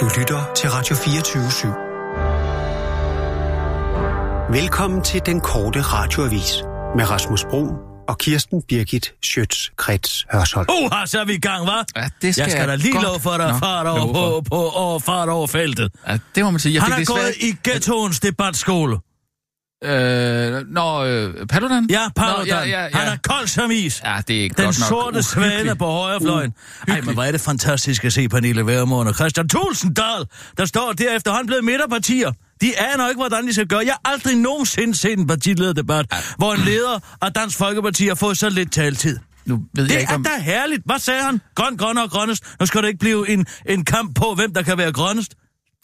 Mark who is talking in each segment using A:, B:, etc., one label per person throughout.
A: Du lytter til Radio 24 /7. Velkommen til den korte radioavis med Rasmus Bro og Kirsten Birgit Schøtz-Krets Hørsholm.
B: Uha, så er vi i gang, hva'?
C: Ja, det skal
B: jeg skal da
C: jeg
B: lige
C: godt
B: love for dig
C: nok
B: fart
C: love
B: over,
C: for.
B: på, på, over, fart over feltet.
C: Ja, det må man sige. Jeg
B: Han
C: fik
B: er
C: desværre
B: gået i ghettoens debatskole.
C: ikke- Øh, nå, øh, Paludan?
B: Ja, Paludan.
C: Nå, ja, ja, ja.
B: Han er kold som is.
C: ja, det er ikke
B: Den
C: godt nok Uh,
B: sorte svane
C: uhyggeligt.
B: på højrefløjen. Uh, Ej, men
C: uhyggeligt.
B: hvor er det fantastisk at se Pernille Værmund og Christian Tulsendal, der står der efterhånden blevet midterpartier. De aner ikke, hvordan de skal gøre. Jeg har aldrig nogensinde set en partilederdebat, hvor en leder af Dansk Folkeparti har fået så lidt taltid.
C: Nu ved jeg
B: Det
C: ikke,
B: er
C: om...
B: da herligt. Hvad sagde han? Grøn, grøn og grønnest. Nu skal det ikke blive en, en kamp på, hvem der kan være grønnest.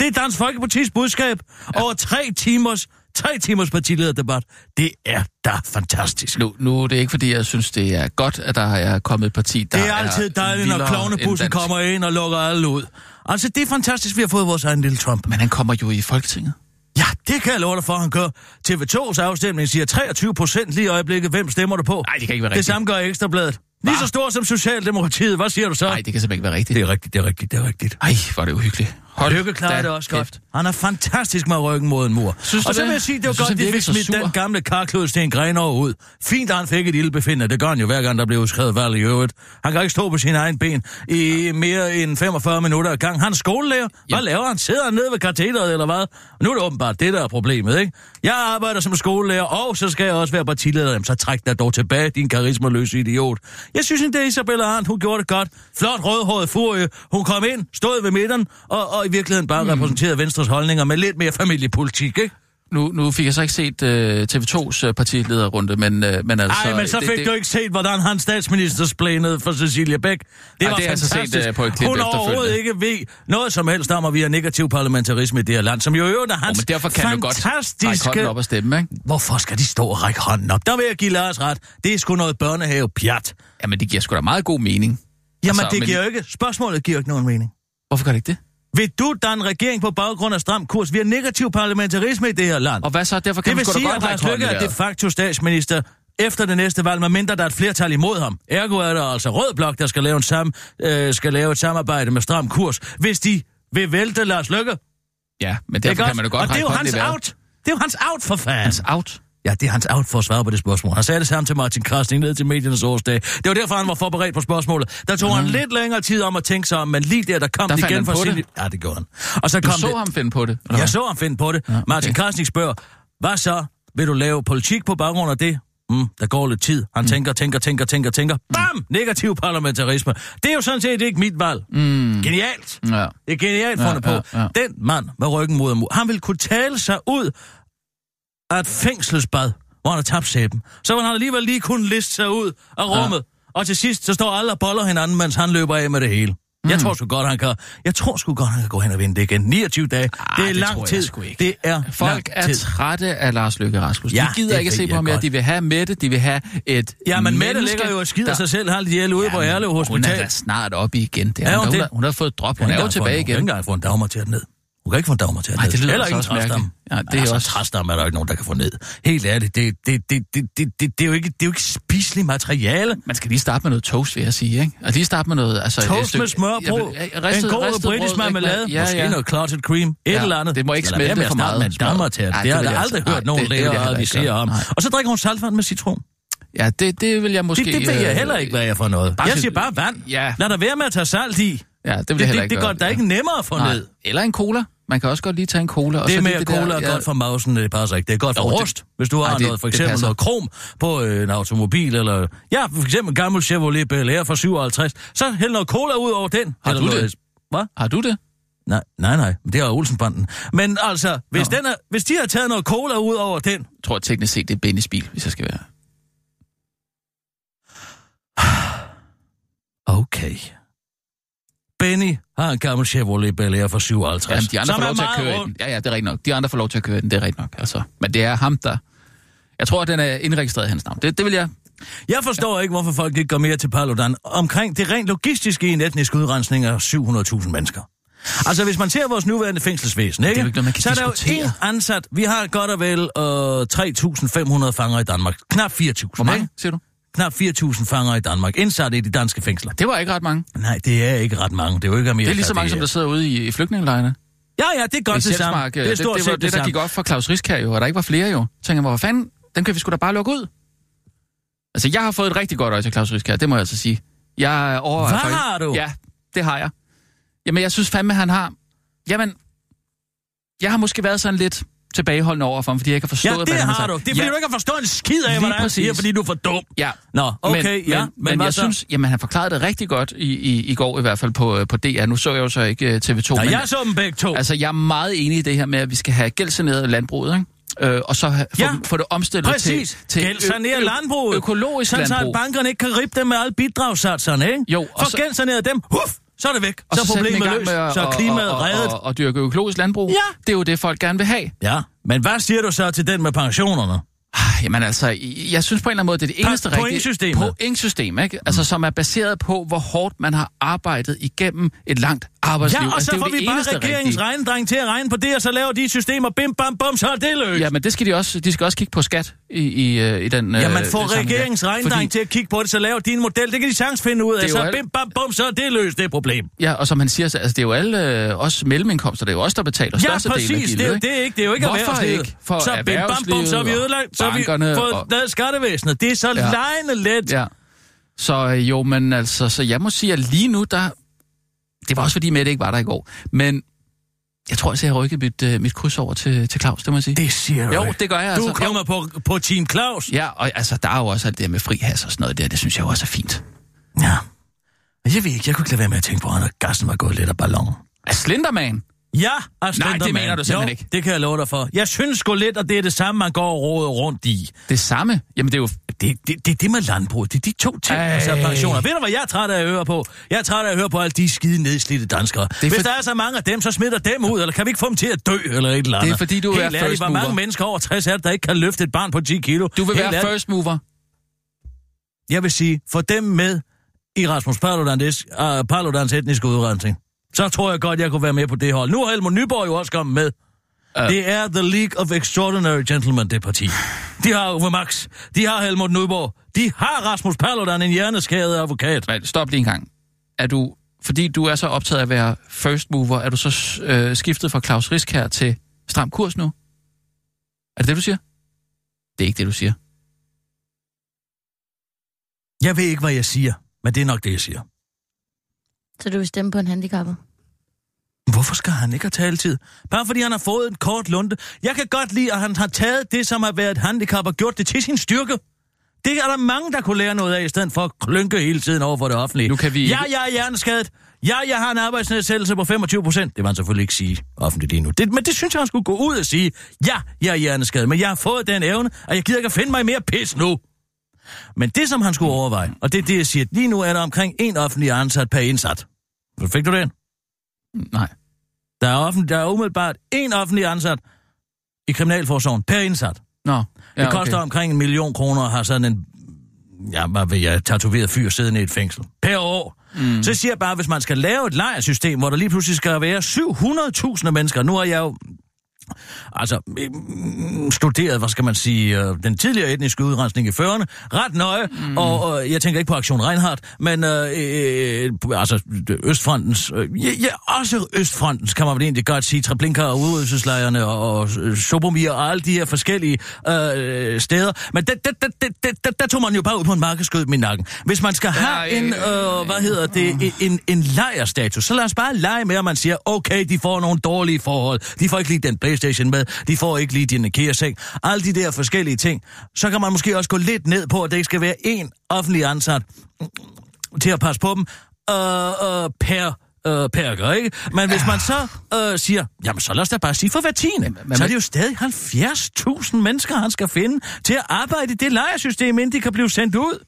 B: Det er Dansk Folkepartis budskab over tre timers, tre timers partilederdebat. Det er da fantastisk.
C: Nu, nu er det ikke, fordi jeg synes, det er godt, at der er kommet et parti, der
B: Det er altid dejligt, når
C: vildere end
B: klovnebussen
C: dansk.
B: kommer ind og lukker alle ud. Altså, det er fantastisk, vi har fået vores egen lille Trump.
C: Men han kommer jo i Folketinget.
B: Ja, det kan jeg love dig for, han gør. TV2's afstemning siger 23 procent lige i øjeblikket. Hvem stemmer du på?
C: Nej, det kan ikke være
B: Det
C: rigtigt.
B: samme gør Ekstrabladet. Lige så stor som Socialdemokratiet. Hvad siger du så?
C: Nej, det kan simpelthen ikke være rigtigt.
B: det er rigtigt, det er rigtigt, det er rigtigt.
C: Ej, hvor er det uhyggeligt. Hold
B: Lykke klarer
C: da
B: det også
C: kæft.
B: godt. Han er fantastisk med ryggen mod en mur.
C: Synes du
B: og så
C: det?
B: vil jeg sige, det var
C: Jeg
B: godt,
C: synes, han
B: de
C: virker
B: fik
C: så
B: smidt
C: sur.
B: den gamle karklud Sten Grenov ud. Fint, at han fik et ildbefindende. Det gør han jo hver gang, der bliver udskrevet valg i øvrigt. Han kan ikke stå på sin egen ben i mere end 45 minutter ad gang. Han er skolelærer. Hvad
C: Ja.
B: laver han? Sidder han nede ved katheteret eller hvad? Nu er det åbenbart det, der er problemet, ikke? Jeg arbejder som skolelærer, og så skal jeg også være partileder. Jamen, så træk dig dog tilbage, din karismaløse idiot. Jeg synes, at det er Isabella Arndt, hun gjorde det godt. Flot rødhåret furie. Hun kom ind, stod ved midten, og, og i virkeligheden bare mm. repræsenterede Venstres holdninger med lidt mere familiepolitik, ikke?
C: Nu, nu fik jeg så ikke set øh, TV2's øh, partilederrunde, men, øh, men altså...
B: Nej, men så fik det,
C: det,
B: du ikke set, hvordan han statsminister splænede for Cecilia Bæk. Det
C: Ej,
B: var
C: det har jeg så set,
B: fantastisk.
C: øh, på et klip
B: Hun overhovedet ikke ved noget som helst om, at vi har negativ parlamentarisme i det her land, som jo i øvrigt er
C: Oh,
B: hans
C: men derfor kan du godt række
B: fantastiske...
C: hånden op og stemme, ikke?
B: Hvorfor skal de stå og række hånden op? Der vil jeg give Lars ret. Det er sgu noget børnehave-pjat.
C: Jamen, det giver sgu da meget god mening.
B: Jamen,
C: Altså,
B: det
C: men-
B: giver jo ikke... Spørgsmålet giver jo ikke nogen mening.
C: Hvorfor gør det ikke det?
B: Vil du danne regering på baggrund af stram kurs? Vi har negativ parlamentarisme i det her land.
C: Og hvad så? Derfor kan
B: det
C: man
B: vil
C: sgu da
B: sige,
C: godt
B: at Lars
C: række hånden
B: Lykke
C: i
B: er de
C: vejret.
B: facto statsminister efter det næste valg, medmindre der er et flertal imod ham. Ergo er der altså Rød Blok, der skal lave, en sam, øh, skal lave et samarbejde med stram kurs, hvis de vil vælte Lars Lykke.
C: Ja, men derfor
B: Ikke
C: kan
B: også?
C: man jo godt
B: Og det er
C: række
B: jo
C: hånden i
B: hans
C: vejret.
B: out. Det er jo hans out for fanden.
C: Hans out.
B: Ja, det er hans out for at svare på det spørgsmål. Han sagde det samme til Martin Krasning ned til mediernes årsdag. Det var derfor, han var forberedt på spørgsmålet. Der tog mm. han lidt længere tid om at tænke sig om, men lige der, der kom
C: Der
B: det
C: fandt
B: igen
C: han
B: fra
C: på
B: sin...
C: det.
B: Ja, det gjorde han. Og så
C: Du
B: kom
C: så
B: det...
C: ham finde på det? eller hvad?
B: Jeg så ham finde på det.
C: okay.
B: Martin Krasnik spørger, hvad så? Vil du lave politik på baggrund af det? Mm, der går lidt tid. Han tænker, tænker, tænker, tænker, tænker. Bam! Negativ parlamentarisme. Det er jo sådan set ikke mit valg. Mm. Genialt.
C: Ja.
B: Det er genialt fundet ja, ja, ja. på. Den mand med ryggen mod mur, han ville kunne tale sig ud af et fængselsbad, hvor han har tabt sæben. Så ville han alligevel lige kunne liste sig ud af rummet. Ja. Og til sidst, så står alle og boller hinanden, mens han løber af med det hele. Mm. Jeg tror sgu godt, han kan. Jeg tror sgu godt, han kan gå hen og vinde det igen. 29 dage. Arh, det er
C: det tror
B: lang
C: jeg
B: tid.
C: sgu ikke.
B: Det er
C: Folk
B: lang
C: er
B: tid.
C: trætte af Lars Løkke Rasmussen.
B: Ja,
C: Ja, de gider
B: det
C: ikke at
B: ved
C: se på
B: jeg
C: ham mere.
B: godt.
C: De vil have Mette, de vil have et
B: Ja, men Mette
C: menneske,
B: ligger jo og skider
C: der-
B: sig selv halvt ihjel ude ja, på Herlev
C: Hun er
B: Hospital.
C: da snart op i igen. Det
B: Er
C: er,
B: hun det?
C: hun, hun, har, hun har fået drop. Hun
B: Hun
C: er jo
B: kan
C: tilbage
B: ikke engang få en- Hun kan ikke
C: igen.
B: engang få en dagmar til at ned. Hun kan ikke få en dagmar til at ned.
C: Ej, det lyder
B: Eller
C: altså
B: ingen
C: også mærkeligt.
B: træstamme.
C: Ja, det er
B: altså,
C: også-
B: træstamme er der jo ikke nogen, der kan få ned. Helt ærligt, det, det, det, det, det, det, det, er jo ikke, det er jo ikke spiseligt materiale.
C: Man skal lige starte med noget toast, vil jeg sige. Ikke? Og lige starte med noget... Altså, et
B: Toast
C: stykke-
B: med smørbrød,
C: Ja,
B: en
C: ristet-
B: god britisk
C: ristet brød, ikke?
B: marmelade,
C: Ja,
B: måske
C: ja.
B: noget clotted cream, et
C: Ja,
B: eller andet.
C: det må ikke
B: Så lad være
C: smelte
B: med at
C: for
B: starte
C: meget.
B: Med en dammer til.
C: Nej,
B: det
C: det
B: har
C: vil
B: jeg
C: jeg
B: aldrig
C: altså-
B: hørt
C: nej,
B: nogen
C: det vil jeg
B: læger
C: heller ikke
B: advisere
C: gøre.
B: om.
C: Nej.
B: Og så drikker hun saltvand med citron.
C: Ja, det, det vil jeg måske...
B: Det, det ved jeg
C: øh,
B: heller ikke, hvad jeg er for noget.
C: bare
B: Jeg
C: sit-
B: siger bare vand.
C: Ja.
B: Lad der være med at tage salt i.
C: Ja, det vil
B: Det,
C: jeg heller
B: det,
C: ikke
B: det gør
C: gøre.
B: det da ikke nemmere at få
C: Nej.
B: ned.
C: Eller en cola. Man kan også godt lige tage en cola. og
B: Det
C: så
B: med
C: lige
B: at cola er
C: der-
B: godt for mausen, det passer ikke. Det er godt for
C: Jo, det-
B: rust, hvis du har
C: Ej,
B: det,
C: det-
B: noget, for
C: det
B: eksempel
C: passer.
B: noget krom på øh, en automobil, eller... Ja, for eksempel en gammel Chevrolet Bel Air fra 57. Så hæld noget cola ud over den.
C: Har
B: Eller
C: du
B: noget-
C: det?
B: Hvad?
C: Har du det?
B: Nej, nej, nej. men Det er Olsenbanden. Men altså, hvis,
C: Nå.
B: den er, hvis de har taget noget cola ud over den...
C: Jeg tror teknisk set, det er Bennys bil, hvis jeg skal være.
B: Okay. Benny har en gammel Chevrolet Bel Air fra 57.
C: Jamen, de andre
B: som er
C: får lov til at
B: meget
C: køre i
B: rund.
C: den. Ja, ja, det er rigtigt nok. De andre får lov til at køre i den, det er rigtigt nok. Altså. Men det er ham, der... Jeg tror, den er indregistreret i hans navn. Det, det vil jeg...
B: Jeg forstår ikke, hvorfor folk ikke går mere til Paludan omkring det rent logistiske i en etnisk udrensning af 700.000 mennesker. Altså, hvis man ser vores nuværende fængselsvæsen, ikke?
C: jo ikke noget, man kan
B: så er der jo
C: diskutere.
B: én ansat. Vi har godt og vel øh, 3.500 fanger i Danmark. Knap 4.000,
C: Hvor mange,
B: ikke?
C: siger du?
B: knap 4.000 fanger i Danmark, indsat i de danske fængsler.
C: Det var ikke ret mange.
B: Nej, det er ikke ret mange. Det er jo ikke Amerika.
C: Det er lige så mange, som der sidder ude i, i flygtningelejrene.
B: Ja, ja, det er godt det
C: I
B: samme.
C: Sjælsmark, øh,
B: Det er
C: det, det, var
B: stort set
C: det,
B: det,
C: der
B: samme.
C: gik op for Claus Risk her jo, og der ikke var flere jo. Så tænker jeg, hvor fanden, dem kan vi sgu da bare lukke ud. Altså, jeg har fået et rigtig godt øje til Claus Risk her, det må jeg altså sige. Jeg er over...
B: Hvad har du?
C: Ja, det har jeg. Jamen, jeg synes fandme, han har... Jamen, jeg har måske været sådan lidt tilbageholdende over for ham, fordi jeg ikke har
B: Ja,
C: forstået,
B: det
C: hvad han
B: har
C: sagt.
B: du. Det er fordi,
C: ja,
B: du ikke har forstået en skid af,
C: Lige
B: hvad der er,
C: præcis.
B: siger, fordi du er for dum.
C: Ja.
B: Nå, okay,
C: men,
B: ja.
C: Men, men, men
B: hvad
C: jeg
B: så?
C: synes, jamen han forklarede det rigtig godt i, i, i går i hvert fald på, øh, på DR. Nu så jeg jo så ikke øh, TV2.
B: Nå,
C: men,
B: jeg så dem begge to.
C: Altså, jeg er meget enig i det her med, at vi skal have gældsaneret landbruget, ikke? Øh, og så ha- få,
B: Ja,
C: ja, få det omstillet
B: Præcis.
C: til, til
B: Gældsanere
C: ø- ø-
B: landbruget.
C: økologisk
B: Sådan så at
C: landbrug.
B: bankerne ikke kan rippe dem med alle bidragssatserne, ikke?
C: Jo, og
B: For
C: så-
B: gældsanere dem, huf, så er det væk.
C: og
B: Så er
C: sætte den i
B: problemet
C: gang
B: løst.
C: med at-
B: Så er
C: og-
B: klimaet
C: og, og,
B: reddet.
C: Og, og dyrke økologisk landbrug.
B: Ja.
C: Det er jo det, folk gerne vil have.
B: Ja, men hvad siger du så til den med pensionerne?
C: Ah, Jamen altså, i- jeg synes på en eller anden måde, det er det eneste rigtige...
B: pointsystemet.
C: Pointsystemet, ikke? Altså, som er baseret på, hvor hårdt man har arbejdet igennem et langt arbejdsliv.
B: Ja, og
C: altså,
B: så
C: det er jo
B: får
C: det
B: vi bare
C: eneste
B: regeringens
C: rigtige.
B: regnedreng til at regne på det, og så laver de systemer, bim, bam, bum, så er det løst.
C: Ja, men det skal de også. De skal også kigge på skat i, i, øh, i den...
B: Ja,
C: øh,
B: man
C: den
B: får
C: sammenhæng.
B: regeringens regnedreng
C: Fordi-
B: til at kigge på det, så laver de en model. Det kan de sagtens finde ud
C: Det
B: af.
C: er jo
B: Så
C: alt-
B: bim, bam, bum, så er det løst, det problem.
C: Ja, og som han siger, så- altså, det er jo alle øh, os mellemindkomster, det er jo os, der betaler
B: Ja,
C: størstedelen af
B: præcis.
C: gildet,
B: Det er jo
C: ikke?
B: det er ikke. Det er jo ikke
C: Hvorfor
B: erhvervslivet.
C: ikke for
B: så bim, bam, bum, så er vi
C: erhvervslivet og
B: ødelagt. Så er vi
C: bankerne
B: fået
C: og-
B: og... skattevæsenet. Det er så ja.
C: Ja.
B: lejende let. Ja.
C: Ja. Så øh, jo, men altså, så jeg må sige, at lige nu, der... Det var også fordi Mette ikke var der i går, men jeg tror altså, jeg har rykket mit, øh, mit kryds over til, til Claus, det må jeg sige.
B: Det siger du
C: jo,
B: ikke.
C: det gør jeg
B: Du
C: altså.
B: kommer på, på Team Claus.
C: Ja, og altså, der er jo også alt det der med frihas og sådan noget der, det synes jeg jo også er fint.
B: Ja. Men Jeg ved ikke, jeg kunne ikke lade være med at tænke på, at gassen var gået lidt af ballonen.
C: Altså, Slenderman?
B: Ja, altså
C: Nej,
B: den
C: det
B: der
C: mener
B: mand.
C: du simpelthen
B: jo,
C: ikke.
B: det kan jeg love dig for. Jeg synes sgu lidt, at det er det samme, man går og roder rundt i.
C: Det samme? Jamen, det er jo...
B: Det, det, det er det med landbrug. Det er de to ting, Ej.
C: Ej.
B: altså pensioner. Ved du, hvad jeg er træt af at høre på? Jeg er træt af at høre på alle de skide nedslidte danskere.
C: er
B: Hvis
C: for-
B: der er så mange af dem, så smitter dem ud, eller kan vi ikke få dem til at dø, eller et eller andet?
C: Det er fordi, du
B: Helt
C: er
B: ærligt,
C: first
B: hvor mange
C: mover.
B: mennesker over 60 er det, der ikke kan løfte et barn på 10 kilo?
C: Du vil
B: Helt
C: være
B: ærligt.
C: first mover.
B: Jeg vil sige, for dem med i Rasmus Paludans, uh, Paludans etniske udrensning, så tror jeg godt, jeg kunne være med på det hold. Nu er Helmut Nyborg jo også kommet med. Uh. Det er The League of Extraordinary Gentlemen, det parti. De har Uwe Max, de har Helmut Nyborg, de har Rasmus Paludan, en hjerneskæret advokat.
C: Men stop lige en gang. Er du, fordi du er så optaget af at være first mover, er du så øh, skiftet fra Claus Risk her til stram kurs nu? Er det det, du siger? Det er ikke det, du siger.
B: Jeg ved ikke, hvad jeg siger, men det er nok det, jeg siger.
D: Så du vil stemme på en handicappet?
B: Hvorfor skal han ikke have taletid? Bare fordi han har fået en kort lunte. Jeg kan godt lide, at han har taget det, som har været et handicap, og gjort det til sin styrke. Det er der mange, der kunne lære noget af, i stedet for at klynke hele tiden over for det offentlige.
C: Nu kan vi-
B: Ja, jeg er hjerneskadet. Ja, jeg har en arbejdsnedsættelse på 25 procent. Det var han selvfølgelig ikke sige offentligt lige nu. Det, men det synes jeg, han skulle gå ud og sige. Ja, jeg er hjerneskadet, men jeg har fået den evne, og jeg gider ikke at finde mig i mere pis nu. Men det, som han skulle overveje, og det er det, jeg siger, at lige nu er der omkring en offentlig ansat per indsat. Fik du den?
C: Nej.
B: Der er, offentlig, der er umiddelbart én offentlig ansat i Kriminalforsorgen per indsat.
C: Nå.
B: Ja, det koster okay. omkring en million kroner at have sådan en, ja, hvad ved jeg, tatoveret fyr siddende i et fængsel. Per år. Mm. Så siger jeg bare, hvis man skal lave et lejersystem, hvor der lige pludselig skal være 700.000 mennesker. Nu har jeg jo altså, mm, studeret, hvad skal man sige, øh, den tidligere etniske udrensning i 40'erne, ret nøje, mm. og øh, jeg tænker ikke på Aktion Reinhardt, men øh, øh, altså Østfrontens, øh, ja, ja, også Østfrontens, kan man vel egentlig godt sige, Treblinka og udryddelseslejrene og, og øh, Sobomir og alle de her forskellige øh, steder, men der, der, der, der, der, der, der tog man jo bare ud på en markedskød med nakken. Hvis man skal have
C: øh,
B: en, øh, hvad hedder det, en, en, en lejerstatus, så lad os bare lege med, at man siger, okay, de får nogle dårlige forhold, de får ikke lige den Playstation med, de får ikke lige din IKEA-seng, alle de der forskellige ting. Så kan man måske også gå lidt ned på, at det ikke skal være en offentlig ansat til at passe på dem øh, øh, per øh, perker, ikke? Men hvis man så øh, siger, jamen så lad os da bare sige for hver tiende,
C: men-
B: så er det jo stadig 70.000 mennesker, han skal finde til at arbejde i det lejersystem, inden de kan blive sendt ud.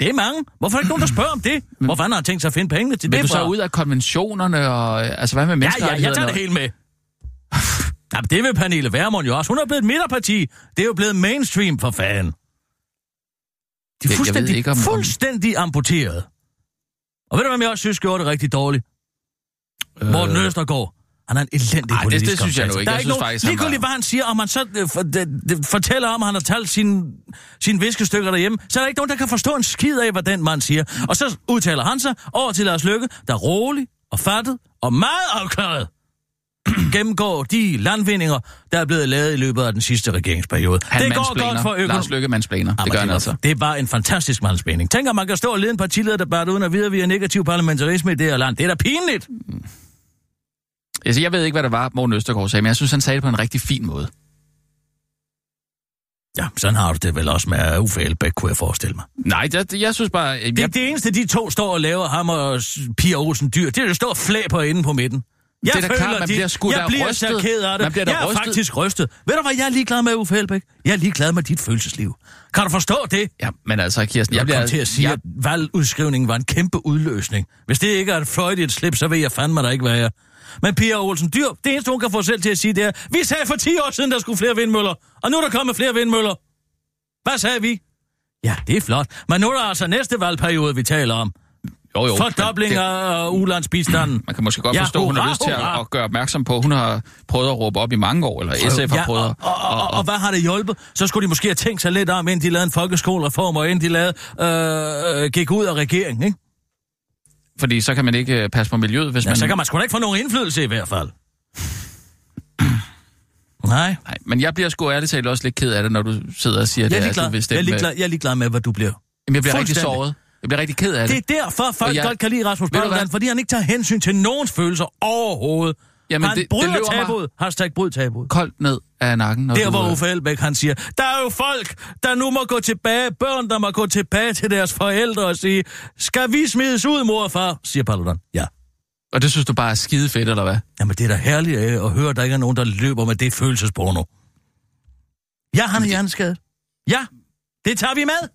B: Det er mange. Hvorfor er der ikke nogen, der spørger om det? Hvorfor han har tænkt sig at finde pengene til
C: Men
B: det?
C: du så
B: fra?
C: ud af konventionerne, og øh, altså
B: ja,
C: hvad med
B: ja, jeg
C: menneskerettighederne?
B: tager det hele med. Jamen, det vil Pernille Vermund jo også. Hun er blevet et midterparti. Det er jo blevet mainstream for fanden. De
C: Jeg-
B: er
C: jeg
B: fuldstændig,
C: ved ikke, om- om-
B: fuldstændig amputeret. Og ved du, hvem jeg også synes gjorde det rigtig dårligt? Morten Østergaard. Han er en elendig
C: Ej, det-
B: politisk
C: det synes jeg nu
B: kommentator.
C: ikke.
B: Der er
C: Jeg
B: ikke
C: synes
B: nogen,
C: faktisk, han
B: ligegyldigt
C: var-
B: hvad han siger, om han så øh, for, det, det, fortæller om, at han har talt sine sin viskestykker derhjemme, så er der ikke nogen, der kan forstå en skid af, hvad den mand siger. Og så udtaler han sig over til Lars Lykke, der er rolig og fattet og meget afklaret gennemgår de landvindinger, der er blevet lavet i løbet af den sidste regeringsperiode.
C: Han
B: det går
C: mansplainer.
B: godt for økonomien.
C: Lars Lykke mansplaner. det gør han altså.
B: Det er bare en fantastisk mandsmening. Tænk, at man kan stå og lede en partilederdebat uden at vide, at vi har negativ parlamentarisme i det her land. Det er da pinligt.
C: Altså, jeg ved ikke, hvad det var, Morten Østergaard sagde, men jeg synes, han sagde det på en rigtig fin måde.
B: Ja, sådan har du det vel også med Uffe Elbæk, kunne jeg forestille mig.
C: Nej, jeg, jeg synes bare... øh, Jeg,
B: Det, det eneste, de to står og laver, ham og s- Pia Olsen Dyr, det er jo at stå og flæ på inde på midten. Jeg
C: Det er da klart, man bliver sgu
B: jeg
C: da
B: bliver
C: rystet.
B: så ked af det.
C: Man bliver da
B: jeg
C: rystet.
B: er faktisk rystet. Ved du hvad, jeg er ligeglad med Uffe Elbæk. Jeg er ligeglad med dit følelsesliv. Kan du forstå det?
C: ja, men altså, Kirsten,
B: Jeg
C: jeg
B: bliver
C: bliver...
B: til at sige,
C: jeg-
B: at valgudskrivningen var en kæmpe udløsning. Hvis det ikke er et fløjt i et slip, så ved jeg fandme, der ikke hvad jeg er. Men Pia Olsen Dyr, det eneste, hun kan få selv til at sige, det er, vi sagde for 10 år siden, der skulle flere vindmøller, og nu er der kommet flere vindmøller. Hvad sagde vi? Ja, det er flot. Men nu er der altså næste valgperiode, vi taler om.
C: Jo, jo,
B: Fordobling
C: men det-
B: af ulandsbistanden.
C: Man kan måske godt
B: Ja,
C: ja, forstå, at hun har
B: hurra,
C: lyst til at,
B: hurra.
C: at gøre opmærksom på, at hun har prøvet at råbe op i mange år, eller SF har
B: ja,
C: prøvet
B: og,
C: at...
B: og, og, og, og hvad har det hjulpet? Så skulle de måske have tænkt sig lidt om, inden de lavede en folkeskolereform, og inden de lavede, øh, øh, gik ud af regeringen, ikke?
C: Fordi så kan man ikke øh, passe på miljøet, hvis
B: Ja,
C: man...
B: så kan man sgu da ikke få nogen indflydelse i hvert fald. Nej,
C: Nej, men jeg bliver sgu ærligt talt også lidt ked af det, når du sidder og siger,
B: jeg er
C: det er, at
B: ligeglad,
C: du vil
B: jeg er
C: stemme...
B: ligeglad, jeg er ligeglad med, hvad du bliver.
C: Jamen, jeg bliver rigtig
B: Fuldstændig.
C: såret. Jeg bliver rigtig ked af
B: Det
C: det.
B: er derfor, folk
C: Og jeg-
B: jeg... godt kan lide Rasmus
C: Ved du hvad?
B: Paludan, fordi han ikke tager hensyn til nogens følelser overhovedet.
C: Jamen,
B: han
C: det- det
B: bryder
C: løber mig-
B: tabuet. Hashtag bryd tabuet.
C: Koldt ned af nakken, når
B: Der
C: du...
B: hvor
C: øh,
B: Uffe Elbæk, han siger, der er jo folk, der nu må gå tilbage, børn, der må gå tilbage til deres forældre og sige, skal vi smides ud, mor og far, siger Paludan. Ja.
C: Og det synes du bare er skide fedt, eller hvad?
B: Jamen, det er da herligt øh, at høre, at der ikke er nogen, der løber med det følelsesporno. Ja, han er hjerneskadet. Ja, det tager vi med.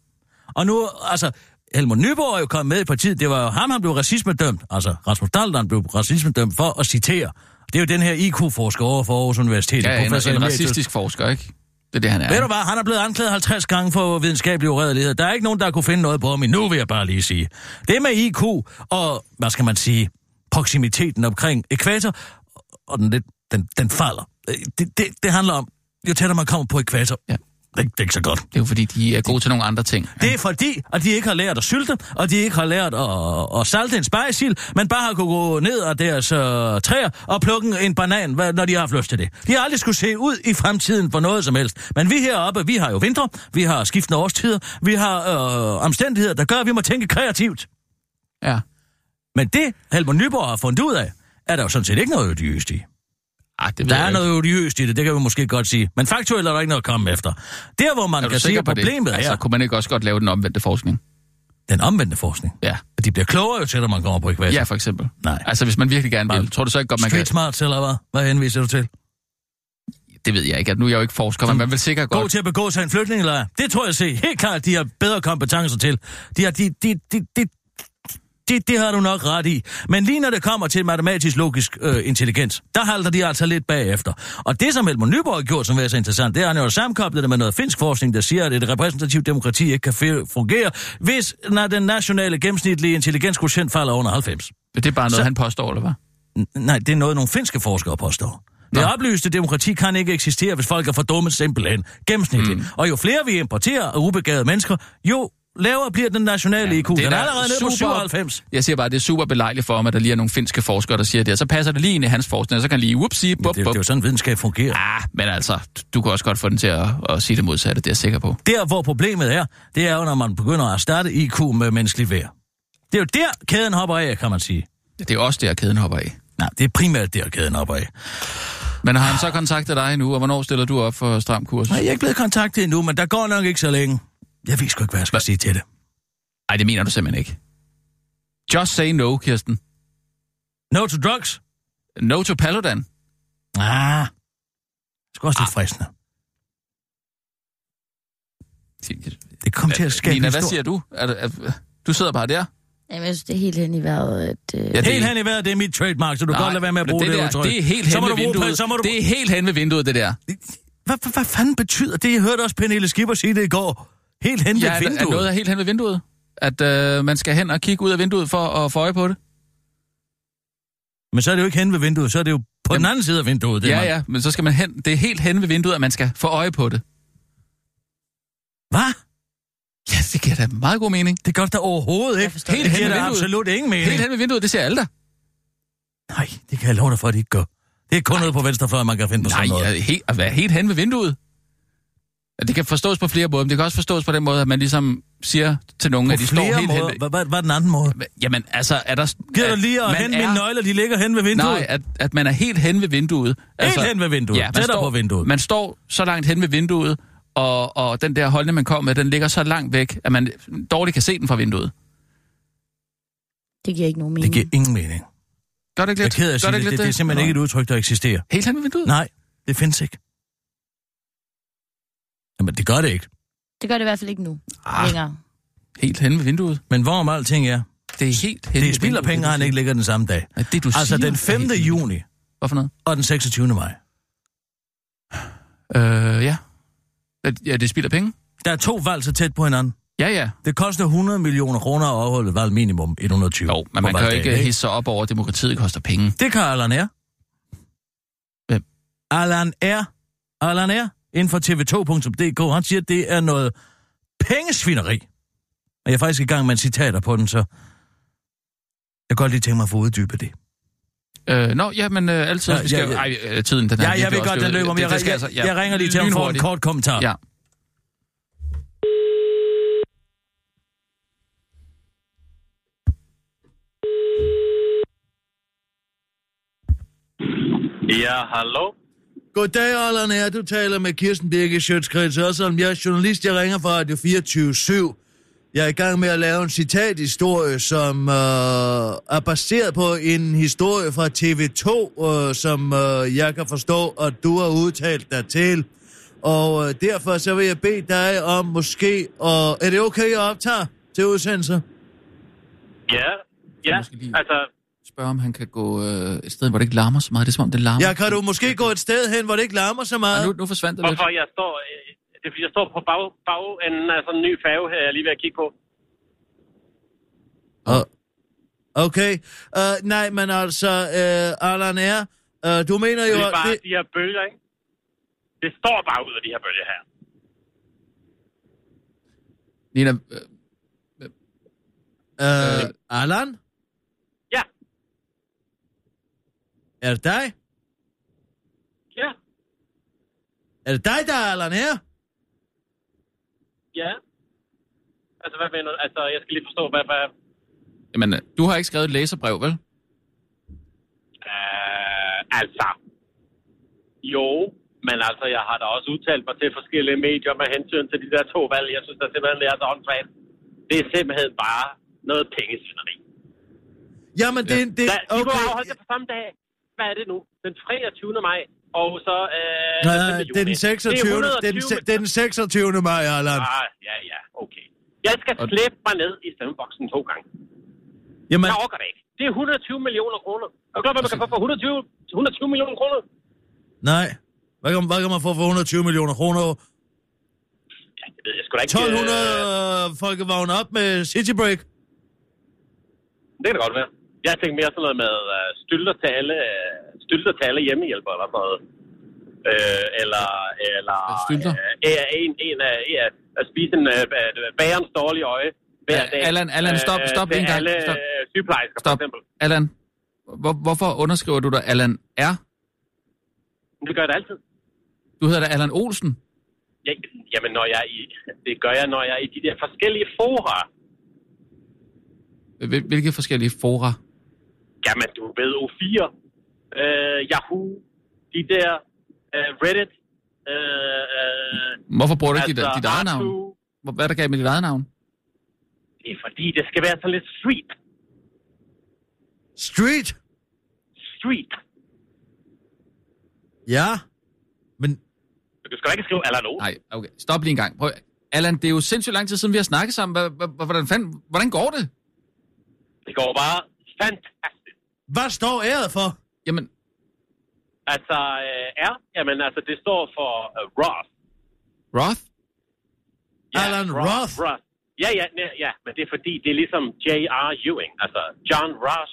B: Og nu, altså, Helmut Nyborg er jo kommet med i partiet. Det var jo ham, han blev racismedømt. Altså, Rasmus Dahldan blev racismedømt for at citere. Det er jo den her IQ-forsker over for Aarhus Universitet.
C: Ja, en,
B: professor
C: en
B: emeritus.
C: racistisk forsker, ikke? Det er det, han er.
B: Ved du hvad, han er blevet anklaget 50 gange for videnskabelig uredelighed. Der er ikke nogen, der kunne finde noget på ham endnu, vil jeg bare lige sige. Det med IQ og, hvad skal man sige, proximiteten omkring ekvator, og den, lidt, den, den falder. Øh, Det, det, det handler om, jo tættere man kommer på ekvator,
C: Ja.
B: ja. det, det er ikke så godt.
C: Det er jo fordi, de er gode til nogle andre ting.
B: Det er fordi, at de ikke har lært at sylte, og de ikke har lært at, at salte en spejsild, men bare har kunne gå ned af deres øh, træer og plukke en banan, hvad- når de har haft lyst til det. De har aldrig skulle se ud i fremtiden for noget som helst. Men vi heroppe, vi har jo vinter, vi har skiftende årstider, vi har øh, omstændigheder, der gør, at vi må tænke kreativt.
C: Ja.
B: Men det, Helmut Nyborg har fundet ud af, er der jo sådan set ikke noget odiøst i.
C: Ah, det ved
B: Der
C: jeg
B: er
C: ikke.
B: noget odiøst i det, det kan vi måske godt sige. Men faktuelt er der ikke noget at komme efter. Der, hvor man
C: Er du
B: kan se
C: sikker
B: at
C: på det?
B: problemet er
C: Altså, kunne man ikke også godt lave den omvendte forskning?
B: den omvendte forskning.
C: Ja.
B: De bliver klogere jo tættere man kommer på ekvator.
C: Ja, for eksempel.
B: Nej.
C: Altså, hvis man virkelig gerne vil,
B: Bare-
C: tror du så ikke godt, man
B: Street
C: kan...
B: smarts, eller hvad? Hvad henviser du til?
C: Det ved jeg ikke, at nu er jeg jo ikke forsker, men man vil sikkert
B: God
C: godt...
B: til at begå sig i en flygtningelejr. Det tror jeg se. Helt klart, de har bedre kompetencer til. De har, de, de, de, de, det, det har du nok ret i. Men lige når det kommer til matematisk logisk øh, intelligens, der halter de altså lidt bagefter. Og det, som Helmut Nyborg har gjort, som er så interessant, det er, at han jo har sammenkoblet det med noget finsk forskning, der siger, at et repræsentativt demokrati ikke kan fe- fungere, hvis når den nationale gennemsnitlige intelligenskvotient falder under 90.
C: Det er bare noget,
B: Så-
C: han påstår, eller hvad?
B: N- Nej, det er noget, nogle finske forskere påstår. Det
C: Nå.
B: oplyste demokrati kan ikke eksistere, hvis folk er for dumme simpelthen. Gennemsnitligt. Mm. Og jo flere vi importerer af ubegavede mennesker, jo lavere bliver den nationale IQ. Den
C: det er
B: er
C: da
B: allerede nede på
C: super-
B: 97.
C: Jeg siger bare, at det er super belejligt for ham, at der lige er nogle finske forskere, der siger det, og så passer det lige ind i hans forskning, og så kan han lige, whoopsie,
B: Det,
C: bup,
B: det er
C: bup.
B: jo sådan, videnskab fungerer.
C: Ah, men altså, du kan også godt få den til at, at sige det modsatte, det er jeg sikker på.
B: Der, hvor problemet er, det er jo, når man begynder at starte IQ med menneskelig vær. Det er jo der, kæden hopper af, kan man sige.
C: Det er også der, kæden hopper af.
B: Nej, det er primært der, kæden hopper af.
C: Men har han så kontaktet dig nu, og hvornår stiller du op for stram kurs?
B: Nej, jeg er ikke blevet kontaktet endnu, men der går nok ikke så længe. Jeg ved sgu ikke, hvad jeg skal sige til det.
C: Nej, det mener du simpelthen ikke. Just say no, Kirsten.
B: No to drugs?
C: No to Paludan.
B: Ah, det er også
C: Ah.
B: lidt fristende. Det kom til at skabe
C: Nina,
B: en
C: hvad
B: stor...
C: siger du? Er, er, er, du sidder bare der.
D: Jamen, jeg synes, det er helt hen i vejret, at... Øh...
C: Ja, det-
B: Helt hen i vejret, det er mit trademark, så du kan godt lade være med at
C: men
B: bruge det,
C: det der,
B: udtryk.
C: Det er helt
B: så
C: hen
B: må
C: ved
B: du bruge,
C: vinduet.
B: Så må du...
C: Det er helt hen ved vinduet, det der.
B: Hvad, hvad, hvad fanden betyder det? Jeg hørte også Pernille Skipper sige det i går. Helt hen
C: Ja,
B: ved
C: er, er
B: vinduet.
C: noget er helt hen ved vinduet? At øh, man skal hen og kigge ud af vinduet for at få øje på det?
B: Men så er det jo ikke hen ved vinduet, så er det jo På Jamen, den anden side af vinduet. Det
C: Ja,
B: er mig.
C: ja, men så skal man hen. Det er helt hen ved vinduet, at man skal få øje på det.
B: Hvad?
C: Ja, det giver da meget god mening.
B: Det gør der overhovedet ikke.
D: forstår
B: Helt
C: det.
B: hen
C: Helt
B: er
C: hen ved
B: absolut ingen mening.
C: Helt hen ved vinduet, det ser alle der.
B: Nej, det kan jeg love dig for, at det ikke gør. Det er kun noget på venstrefløjen, man kan finde på sådan
C: Nej,
B: noget.
C: ja, helt, at være helt hen ved vinduet. Ja, Det kan forstås på flere måder, men det kan også forstås på den måde, at man ligesom siger til nogen,
B: På
C: at de står
B: flere
C: helt hen
B: måder.
C: ved...
B: Hvad- Hvad hvad er den anden måde?
C: Jamen, altså, er der...
B: Gider
C: at
B: du lige at
C: man
B: hente
C: er-
B: mine nøgler, de ligger hen ved vinduet?
C: Nej, at, at man er helt hen ved vinduet. Altså,
B: Helt hen ved vinduet.
C: man
B: Tættere på
C: står,
B: vinduet.
C: Man står så langt hen ved vinduet, og, og den der holdning, man kom med, den ligger så langt væk, at man dårligt kan se den fra vinduet.
D: Det giver ikke nogen
B: Det
D: mening.
B: giver ingen mening.
C: Gør det ikke
B: Jeg er
C: lidt?
B: ked af at
C: Gør
B: sige det.
C: ikke
B: Det,
C: lidt
B: det er simpelthen ikke et udtryk, der eksisterer.
C: Helt hen ved vinduet?
B: Nej, det findes ikke. Jamen, det gør det ikke.
D: det gør det i hvert fald ikke nu.
C: Ah.
D: Ah. Længere.
C: Helt hen ved vinduet.
B: Men hvorom alting er,
C: Det er helt hen
B: det er spild
C: ved
B: af
C: vinduet,
B: penge, at han
C: du
B: ikke ligger den samme dag.
C: siger. Ja, Det, du
B: Altså
C: siger,
B: den
C: er
B: 5.
C: helt hen.
B: juni
C: Hvad for noget?
B: og den 26. maj.
C: Øh, ja. Øh, Ja, det er spild af penge.
B: Der er to valg så tæt på hinanden.
C: Ja, ja.
B: Det koster 100 millioner kroner at overholde valg minimum 120.
C: Jo, men
B: på
C: man kan jo
B: valgdagen,
C: ikke hisse sig op over, at demokratiet koster penge.
B: Det kan Allan R.
C: Hvem?
B: Allan R. Allan R. Inden for tv2.dk. Han siger, at det er noget pengesvineri. Og jeg er faktisk i gang med citater på den, så jeg kan godt lige tænke mig at få uddybet det.
C: Øh, nå, ja, men øh, altid.
B: Ja,
C: Ja, vi skal,
B: ja,
C: ja,
B: ja.
C: Ej, øh, tiden, den er
B: Ja, jeg
C: virkelig
B: ved
C: også
B: godt, den
C: løbet.
B: løber, men
C: Det-
B: jeg,
C: det skal
B: jeg,
C: altså-
B: jeg, jeg ringer lige til ham for en
C: Lynhurtigt.
B: kort kommentar.
C: Ja.
E: Ja, hallo.
B: Goddag, Allan her. Du taler med Kirsten Birke Sjøtskreds, og som jeg er journalist, jeg ringer fra Radio 24 Jeg er i gang med at lave en citathistorie, som øh, er baseret på en historie fra TV2, øh, som øh, jeg kan forstå, at du har udtalt dig til. Og øh, derfor så vil jeg bede dig om måske... Og er det okay, jeg optager til udsendelser?
E: Ja, ja.
C: måske lige-
E: Altså,
C: Spørg, om han kan gå øh, et sted, hvor det ikke larmer så meget. Det er som om, det larmer.
B: Ja, kan du måske gå et sted hen, hvor det ikke larmer så meget?
C: Og nu, nu forsvandt det lidt.
E: hvorfor jeg står... øh, Det er, fordi jeg står på bag, bagenden af sådan en ny færge her, jeg er lige ved at kigge på.
B: Og- Okay. Uh, nej, men altså, uh, Allan er... Uh, du mener jo...
E: Det er bare
B: det,
E: de her bølger, ikke? Det står bare ud af de her bølger her.
C: Nina, øh,
B: uh,
C: Øh.
B: Allan,
E: Ja,
B: er det dig?
E: ja,
B: Er det dig, der er Allan her?
E: ja. Altså, hvad mener du? Altså, jeg skal lige forstå, hvad... hvad
C: jamen, øh, du har ikke skrevet et læserbrev, vel?
E: øh, altså... Jo, men altså, jeg har da også udtalt mig til forskellige medier med hensyn til de der to valg. Jeg synes da simpelthen, det er så åndssvagt. Det er simpelthen bare noget pengesvineri.
B: Jamen, det, det, det
E: Ja, de kunne afholde
B: okay.
E: det på samme dag. Hvad er det nu? Den 23. maj, og så... Øh,
B: Nej,
E: den
B: nej,
E: juni.
B: det er den 26.
E: Det er
B: Det er
E: 120.
B: den, se- det er den 26. maj, Allan.
E: Ah, ja, ja, okay. Jeg skal
C: Og-
E: slæbe mig ned i stemmeboksen to gange.
B: Jamen,
E: Jeg orker det ikke. Det er 120 millioner kroner. Er du klar, hvad man kan få for 120, 120 millioner kroner?
B: nej. Hvad kan, hvad kan man få for 120 millioner kroner?
E: Ja, det ved jeg sgu da ikke.
B: 1200 øh, folkevogne op med City Break.
E: Øh, det kan det godt være. Jeg tænkte mere sådan noget med øh, stylter til alle, øh, stylter til alle hjemmehjælpere eller sådan noget. Øh, eller, eller
C: Stylter?
E: øh, en, en af, en af, at spise en øh, øh, bagerens dårlige øje hver
C: Ja,
E: dag.
C: Allan, Allan, stop,
E: øh,
C: stop
E: til
C: lige en gang.
E: alle
C: Stop.
E: øh, sygeplejersker, for
C: Stop.
E: eksempel.
C: Allan, hvor, hvorfor underskriver du dig Allan R?
E: Det gør jeg da altid.
C: Du hedder da Allan Olsen.
E: Ja, jamen, når jeg er i, det gør jeg, når jeg er i de der forskellige fora.
C: Hvil- Hvilke forskellige fora?
E: Jamen, du ved O4, øh, Yahoo, de der øh, Reddit, øh, øh, altså
C: Hvorfor bruger du ikke dit, dit eget navn?
E: Artu.
C: Hvor- Hvad er der galt med dit eget navn?
E: Det er fordi, det skal være sådan lidt street.
B: Street?
E: Street.
B: Ja. Men
E: Du skal ikke skrive Allan O.
C: Nej, okay. Stop lige en gang. Prøv. Allan, det er jo sindssygt lang tid siden, vi har snakket sammen. Hva- hva- hva- Hvordan, fanden, hvordan går det?
E: Det går bare fantastisk.
B: hvad står æret for?
C: Jamen,
E: Altså, øh, R, jamen, altså, det står for uh, Roth.
C: Roth?
B: Alan Roth.
E: Roth. Ja, ja, ja, ja, men det er fordi, det er ligesom J.R. Ewing, altså John Ross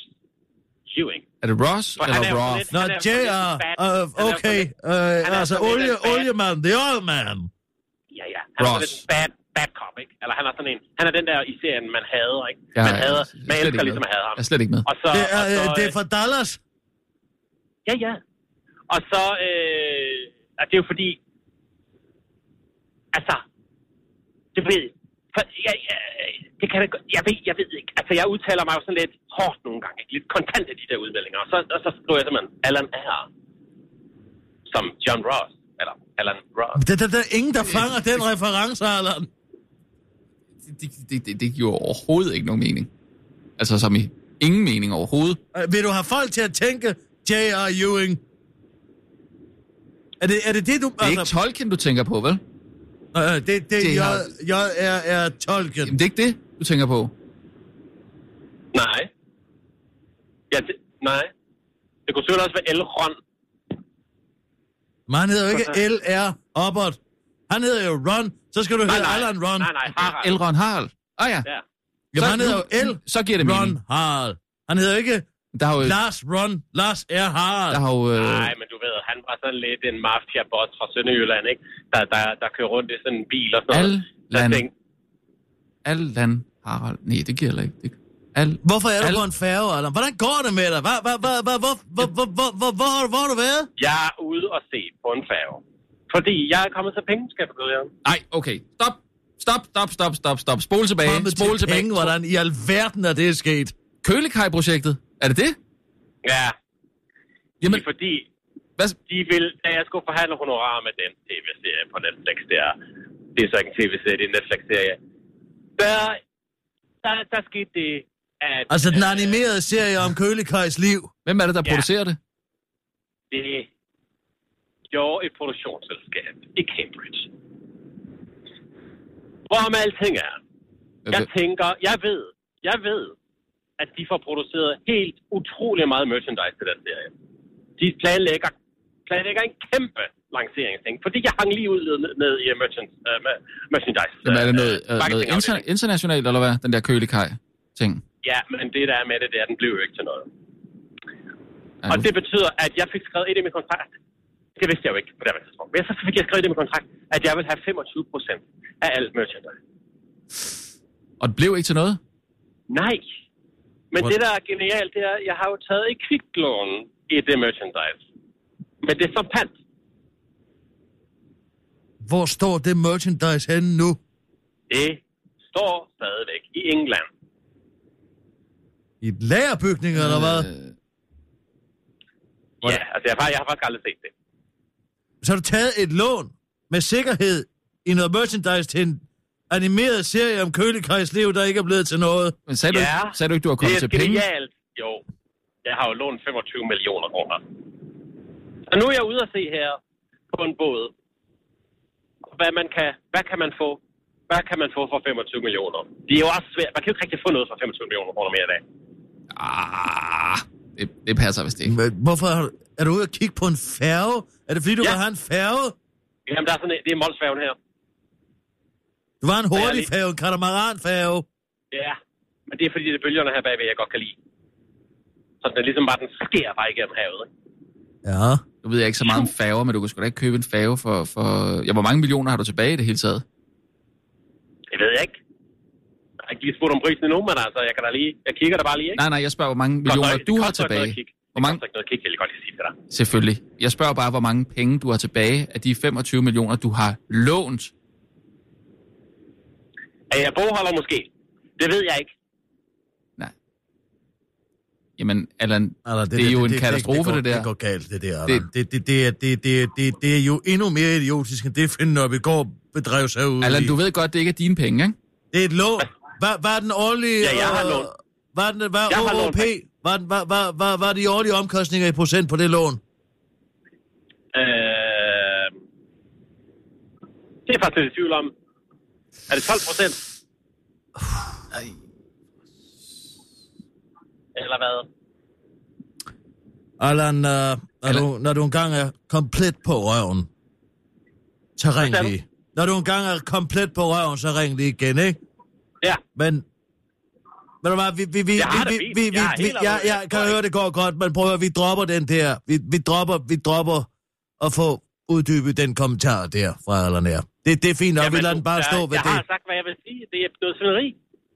E: Ewing.
C: Er det Ross
E: For han
C: eller
E: er jo sådan
C: Roth?
E: lidt-
B: Nå,
E: Han er jo
B: J.
E: sådan lidt
B: er...
E: en bad- han er
B: Uh,
E: jo
B: okay,
E: sådan
B: uh,
E: er
B: altså
E: sådan lidt
B: olie,
E: en bad-
B: oliemand, the old man.
E: Ja, ja. Han er
C: Ross.
E: sådan lidt en bad, bad cop, ikke? Eller han er sådan en... Han er den der i serien, man hader, ikke?
C: Ja,
E: man
C: ja,
E: hader...
C: jeg er
E: Man
C: slet
E: elsker
C: ikke
E: ligesom
C: med.
E: at hade ham.
C: Jeg er slet ikke med.
E: Og så...
B: Altså, Det er,
E: og
B: øh,
E: så,
B: det
E: øh,
B: er fra Dallas.
E: Ja, ja. Og så... Øh, at det er jo fordi... Altså... Det ved... For, jeg, jeg, det kan jeg, godt- jeg ved, jeg ved ikke. Altså, jeg udtaler mig jo sådan lidt hårdt nogle gange. Ikke? Lidt kontant af de der udmeldinger. Og så, og så skriver jeg simpelthen Alan R. Som John Ross. Eller Alan Ross.
B: Det, det, der er ingen, der fanger den reference, Allan.
C: Det, det, det, det giver overhovedet ikke nogen mening. Altså som i ingen mening overhovedet.
B: Øh, Vil du have folk til at tænke J.R. Ewing? Er det er det, det du... Altså,
C: Det er ikke Tolkien, du tænker på, vel?
B: øh, det, det, det
C: J.R..
B: J, J.R.R. Tolkien.
C: Jamen, det er ikke det, du tænker på.
E: Nej. Ja, det, nej. Det kunne selvfølgelig også være Elrond.
B: Men han hedder jo ikke L.R. Oppert. Han hedder jo Ron. Så skal du
E: Nej,
B: hedde
E: nej.
B: Allan Ron.
E: Nej, nej. Harald.
C: Elrond Harald. Ah ja.
E: Ja.
B: Jamen,
C: Så
B: han hedder jo
C: nu-
B: L.
C: Så giver det mening.
B: Ron Harald. Han hedder ikke
C: Der har jo...
B: Lars Ron. Lars R.
C: Der
B: Harald.
C: Mm. har jo øh,
E: Nej, men du ved, han var sådan lidt en mafia-boss fra Sønderjylland, ikke? Der, der, der kører rundt i sådan en bil og sådan noget. Så jeg
C: Allan.
E: tænkte,
C: Allan Harald. Nej, det giver heller ikke. Det... Al...
B: Hvorfor er du
C: Al-
B: på en færge, Allan? Hvordan går det med dig? Hvad, hvad, hvad, hvad, hvor, hvor, hvor, hvor, hvor, hvor, hvor har du været?
E: jeg er ude og se på en færge. Fordi jeg er kommet til penge, skal jeg fortælle jer.
C: Nej, okay. Stop. Stop, stop, stop, stop, stop. Spol tilbage.
B: Kommet
C: Spol
B: til
C: tilbage.
B: penge, hvordan i alverden er det sket?
C: Kølekaj-projektet. Er det det?
E: Ja,
C: Jamen,
E: men... fordi
C: hvad...
E: de vil, da jeg skulle forhandle honorar med den tv-serie på Netflix der, det er så ikke en tv-serie, det er en Netflix-serie, der, der, der skete det, at...
B: Altså den
E: øh,
B: animerede serie om Kølekajs liv.
C: hvem er det, der
E: Ja.
C: producerer det? Øh,
E: det gjorde et produktionsselskab i Cambridge. Hvorom alting er. Jeg
C: Altså-
E: tænker, jeg ved, jeg ved, at de får produceret helt utrolig meget merchandise til den serie. De planlægger, planlægger en kæmpe lanceringsting, fordi jeg hang lige ud ned, ned i øh, merchant, uh, merchandise.
C: Jamen, er det
E: øh,
C: noget, øh, noget
E: marketingafdeling.
C: interna- internationalt, eller hvad? Den der kølekaj-ting.
E: Ja, men det der er med det, det er, at den blev jo ikke til noget.
C: Ja,
E: Og
C: nu-
E: det betyder, at jeg fik skrevet ind i min kontrakt. Det vidste jeg jo ikke på det her tidspunkt. Men så fik jeg skrevet ind i min kontrakt, at jeg vil have 25 procent af alt merchandise.
C: Og det blev ikke til noget?
E: Nej. Men
B: What?
E: det, der er genialt, det er, at jeg har jo taget et kviklån i det merchandise. Men det er så pant.
B: Hvor står det merchandise henne nu?
E: Det står stadigvæk i England.
B: I et lagerbygning, eller hvad?
C: Øh,
E: Ja, altså jeg har, jeg har faktisk aldrig set det.
B: Så har du taget et lån med sikkerhed i noget merchandise til en animeret serie om Kølekajs liv, der ikke er blevet til noget.
C: Men sagde, du,
E: Ja.
C: ikke- sagde du ikke, du var
E: Det
C: kommet
E: er
C: til penge?
E: genialt. Jo, jeg har jo lånt 25 millioner kroner. Så nu er jeg ude at se her på en båd, hvad, man kan, hvad kan man få? Hvad kan man få for 25 millioner? Det er jo også svært. Man kan jo ikke rigtig få noget for 25 millioner kroner mere i dag.
C: Ah, det, det passer vist ikke.
B: Men Hvorfor har du, er du ude at kigge på en færge? Er det fordi, du
E: Ja.
B: ja. var en færge?
E: Jamen, der er sådan en, det er Molsfærgen her.
B: Du var en
E: jeg
B: hurtig
E: lige-
B: færge, en katamaranfærge.
E: Ja, men det er fordi, det er bølgerne her bagved, jeg godt kan lide. Så den er ligesom bare, den sker bare igennem havet. Ikke?
B: Ja.
C: Nu ved jeg ikke så meget om færger, men du kunne sgu da ikke købe en færge for... for... Ja, hvor mange millioner har du tilbage i det hele taget?
E: Det ved jeg ikke. Jeg har ikke lige spurgt om prisen endnu, men altså, jeg kan da lige, jeg kigger der bare lige, ikke?
C: Nej, nej, jeg spørger, hvor mange
E: Det koster
C: millioner
E: ikke-
C: du
E: det
C: har
E: koster ikke noget
C: tilbage.
E: at kigge.
C: Hvor
E: Det
C: mange-
E: koster ikke noget at kigge, jeg kan godt lige sige til dig.
C: Selvfølgelig. Jeg spørger bare, hvor mange penge du har tilbage af de 25 millioner, du har lånt.
E: Er jeg bogholder måske? Det ved jeg ikke.
C: Nej. Jamen, Allan,
B: Allan,
C: det, det er jo en katastrofe,
B: det, går-
C: det, der.
B: Det går galt, det der, Allan. Det, det, det, er- det, det, det, det er jo endnu mere idiotisk, end det Finn Nørbegaard bedrev sig ud
C: Allan,
B: i.
C: du ved godt, det ikke er dine penge, ikke?
B: Det er et lån. Hvad, hvad er den årlige...
E: Ja, jeg har
B: øh,
E: lånt.
B: Hvad er den, hvad
E: Jeg har
B: OOP? Hvad, hvad, hvad, hvad, hvad er de årlige omkostninger i procent på det lån?
E: Øh... Det er jeg faktisk lidt i tvivl om. Er det 12 procent? Eller hvad?
B: Allan, øh, når,
C: Allan.
B: Du, når du engang er komplet på røven, så ring
E: Hvad sagde
B: lige. Når du engang er komplet på røven, så ring lige igen, ikke?
E: Ja,
B: Men Ved du hvad, vi, vi, vi,
E: Jeg har
B: vi,
E: det
B: vi,
E: fint.
B: vi,
E: Jeg er
B: vi, vi
E: helt
B: jeg, jeg kan
E: oprigtigt.
B: høre, det går godt, men prøv at høre, vi dropper den der. Vi, vi dropper, vi dropper at få uddybet den kommentar der fra Allan her. Det, det er fint nok, vi lader den bare
E: jeg,
B: stå ved
E: jeg
B: det.
E: har sagt, hvad jeg vil sige. Det er noget svineri.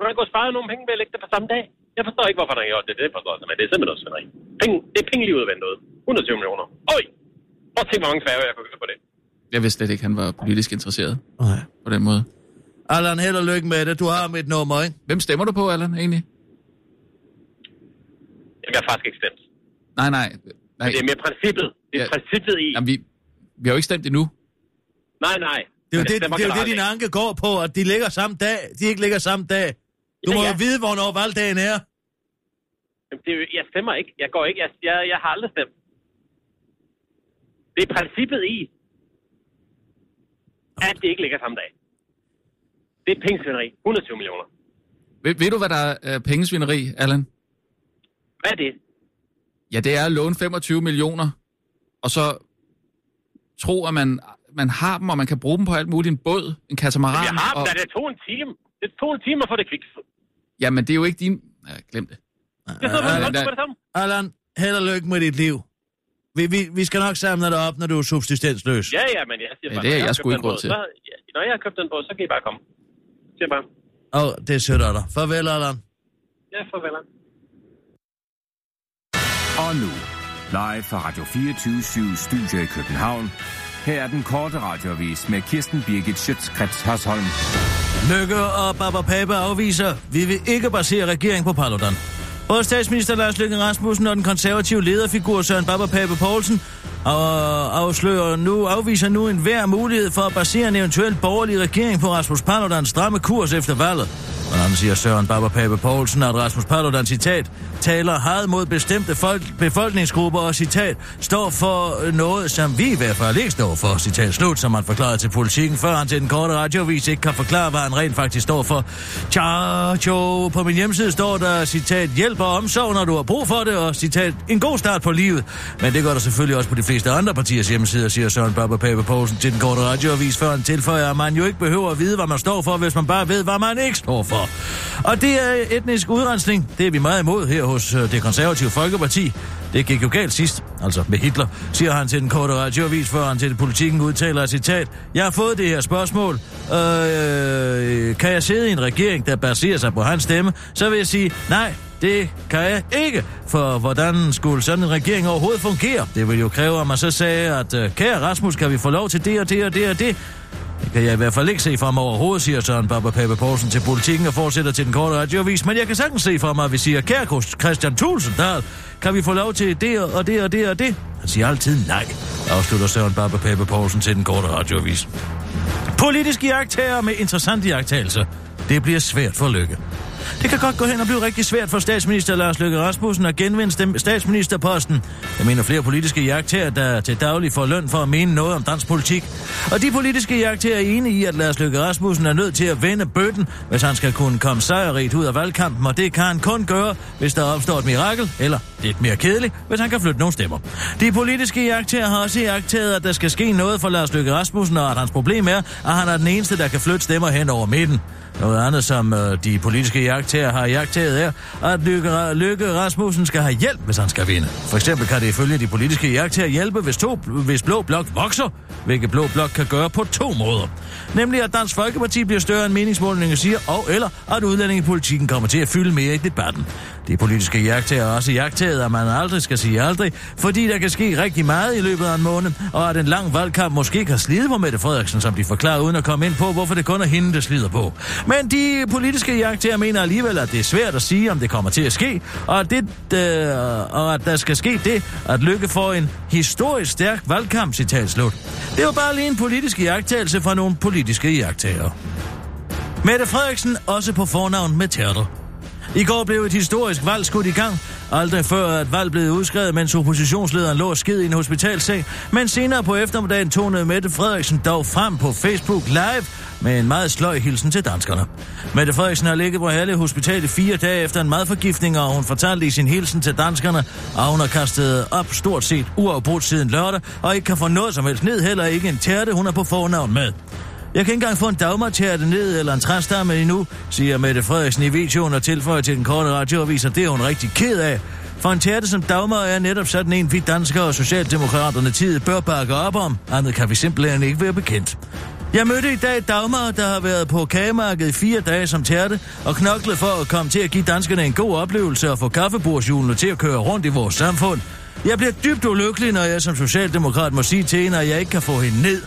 E: Man kunne spare nogle penge ved at lægge det på samme dag. Jeg forstår ikke, hvorfor der har gjort det. Det forstår jeg simpelthen. Det er simpelthen noget svineri. Penge, det er penge lige udvendt ud. 120 millioner. Oj! Prøv at se, hvor mange færger jeg kunne købe på det.
C: Jeg vidste slet ikke, han var politisk interesseret
B: Nej.
C: på den måde.
B: Allan, held og lykke med det. Du har mit nummer, ikke?
C: Hvem stemmer du på, Allan, egentlig?
E: Jamen, jeg har faktisk ikke stemt.
C: Nej, nej. nej.
E: Men det er mere princippet. Det
C: Ja.
E: er princippet i.
C: Jamen, vi, vi har jo ikke stemt endnu.
E: Nej, nej.
B: Det er jo
E: Jeg
B: det,
E: stemmer
B: det, er jo det
E: generelt
B: din
E: ikke.
B: anke går på, at de ligger samme dag. De ikke ligger samme dag. Du
E: Ja,
B: må jo
E: ja.
B: vide, hvornår valgdagen er.
E: Jamen, det, er jo- jeg stemmer ikke. Jeg går ikke. Jeg, jeg, jeg har aldrig stemt. Det er princippet i, at det ikke ligger samme dag. Det er pengesvineri. 120 millioner.
C: Ved, ved du, hvad der er øh, pengesvineri, Allan?
E: Hvad er det?
C: Ja, det er at låne 25 millioner, og så tro, at man, man har dem, og man kan bruge dem på alt muligt. En båd, en katamaran.
E: Jeg har dem,
C: og,
E: da det tog en time. Det tog en time at få det kvikset.
C: Jamen, det er jo ikke din... Ja, glem det.
E: Jeg sidder
C: Ja,
E: bare og
C: men
E: på
C: der-
E: det samme.
B: Allan, held og lykke med dit liv. Vi, vi, vi skal nok samle dig op, når du er subsistensløs.
E: Ja, ja, men jeg siger
C: Ja,
E: bare,
C: det er
E: når
C: jeg
E: har
C: sgu
E: købt
C: ikke
E: den
C: råd
E: båd,
C: til.
E: så- ja, Når jeg har købt den båd, så kan I bare komme. Jeg Siger bare,
B: Åh, oh, det er sødt af dig. Farvel, Allan.
E: ja, farvel.
F: Og nu, live fra Radio 24 Studio i København. Her er den korte radiovis med Kirsten Birgit Schøtzgrads Hasholm.
B: Lykke og Baba Pape afviser, vi vil ikke basere regering på Paludan. Både statsminister Lars Løkke Rasmussen og den konservative lederfigur Søren Baba Pape Poulsen og afslører nu, afviser nu enhver mulighed for at basere en eventuel borgerlig regering på Rasmus Paludans stramme kurs efter valget. Hvordan siger Søren Baba Pape Poulsen, at Rasmus Paludan, citat, taler had mod bestemte folk, befolkningsgrupper og citat, står for øh, noget, som vi i hvert fald ikke står for, citat slut, som han forklarede til politikken, før han til den korte radiovis ikke kan forklare, hvad han rent faktisk står for. Tja, tjo, på min hjemmeside står der, citat, hjælp og omsorg, når du har brug for det, og citat, en god start på livet. Men det gør der selvfølgelig også på de fleste andre partiers hjemmesider, siger Søren Baba Pape Poulsen til den korte radioavis, før han tilføjer, at man jo ikke behøver at vide, hvad man står for, hvis man bare ved, hvad man ikke står for. Og det er etnisk udrensning. Det er vi meget imod her hos øh, det konservative Folkeparti. Det gik jo galt sidst, altså med Hitler, siger han til den korte radioavis, før han til politikken udtaler et citat. Jeg har fået det her spørgsmål. Øh, kan jeg sidde i en regering, der baserer sig på hans stemme? Så vil jeg sige, nej, det kan jeg ikke, for hvordan skulle sådan en regering overhovedet fungere? Det ville jo kræve, at man så sagde, at øh, kære Rasmus, kan vi få lov til det og det og det og det? Det kan jeg i hvert fald ikke se for mig overhovedet, siger Søren Baba Pape Poulsen til politikken og fortsætter til den korte radioavis. Men jeg kan sagtens se for mig, at vi siger, kære Kos- Christian Thulsen Dahl, kan vi få lov til det og det og det og det? Han siger altid nej, afslutter Søren Baba Pape Poulsen til den korte radioavis. Politiske jagttager med interessante jagttagelser. Det bliver svært for Lykke. Det kan godt gå hen og blive rigtig svært for statsminister Lars Løkke Rasmussen at genvinde stem- statsministerposten. Jeg mener flere politiske jagttager, der til daglig får løn for at mene noget om dansk politik. Og de politiske jagttager er enige i, at Lars Løkke Rasmussen er nødt til at vende bøtten, hvis han skal kunne komme sejrigt ud af valgkampen, og det kan han kun gøre, hvis der opstår et mirakel, eller lidt mere kedeligt, hvis han kan flytte nogle stemmer. De politiske jagttager har også jagttaget, at der skal ske noget for Lars Løkke Rasmussen, og at hans problem er, at han er den eneste, der kan flytte stemmer hen over midten. Noget andet, som øh, de politiske jagttager har jagttaget, er, at Lykke, Lykke Rasmussen skal have hjælp, hvis han skal vinde. For eksempel kan det ifølge de politiske jagttager hjælpe, hvis, to, hvis Blå Blok vokser, hvilket Blå Blok kan gøre på to måder. Nemlig, at Dansk Folkeparti bliver større end meningsmålingen siger, og eller at udlændingepolitikken kommer til at fylde mere i debatten. De politiske jagttager har også jagttaget, at man aldrig skal sige aldrig, fordi der kan ske rigtig meget i løbet af en måned, og at en lang valgkamp måske kan slide på Mette Frederiksen, som de forklarer uden at komme ind på, hvorfor det kun er hende, der slider på. Men de politiske jagttager mener alligevel, at det er svært at sige, om det kommer til at ske, og at, det, øh, og at der skal ske det, at Lykke får en historisk stærk valgkamp, citat slut. Det var bare lige en politisk jagttagelse fra nogle politiske jagttager. Mette Frederiksen også på fornavn med Tertel. I går blev et historisk valg skudt i gang. Aldrig før er et valg blevet udskrevet, mens oppositionslederen lå og sked i en hospitalseng. Men senere på eftermiddagen tonede Mette Frederiksen dog frem på Facebook Live med en meget sløj hilsen til danskerne. Mette Frederiksen har ligget på Herlev Hospital i fire dage efter en madforgiftning, og hun fortalte i sin hilsen til danskerne, at hun har kastet op stort set uafbrudt siden lørdag, og ikke kan få noget som helst ned, heller ikke en tærte, hun er på fornavn med. Jeg kan ikke engang få en dagmartærte ned eller en træstamme endnu, siger Mette Frederiksen i videoen og tilføjer til den korte radioavis, at det er hun rigtig ked af. For en tærte som Dagmar er netop sådan en, vi danskere og Socialdemokraterne tid bør bakke op om. Andet kan vi simpelthen ikke være bekendt. Jeg mødte i dag Dagmar, der har været på kagemarkedet i fire dage som tærte, og knoklet for at komme til at give danskerne en god oplevelse og få kaffebordshjulene til at køre rundt i vores samfund. Jeg bliver dybt ulykkelig, når jeg som socialdemokrat må sige til hende, at jeg ikke kan få hende ned.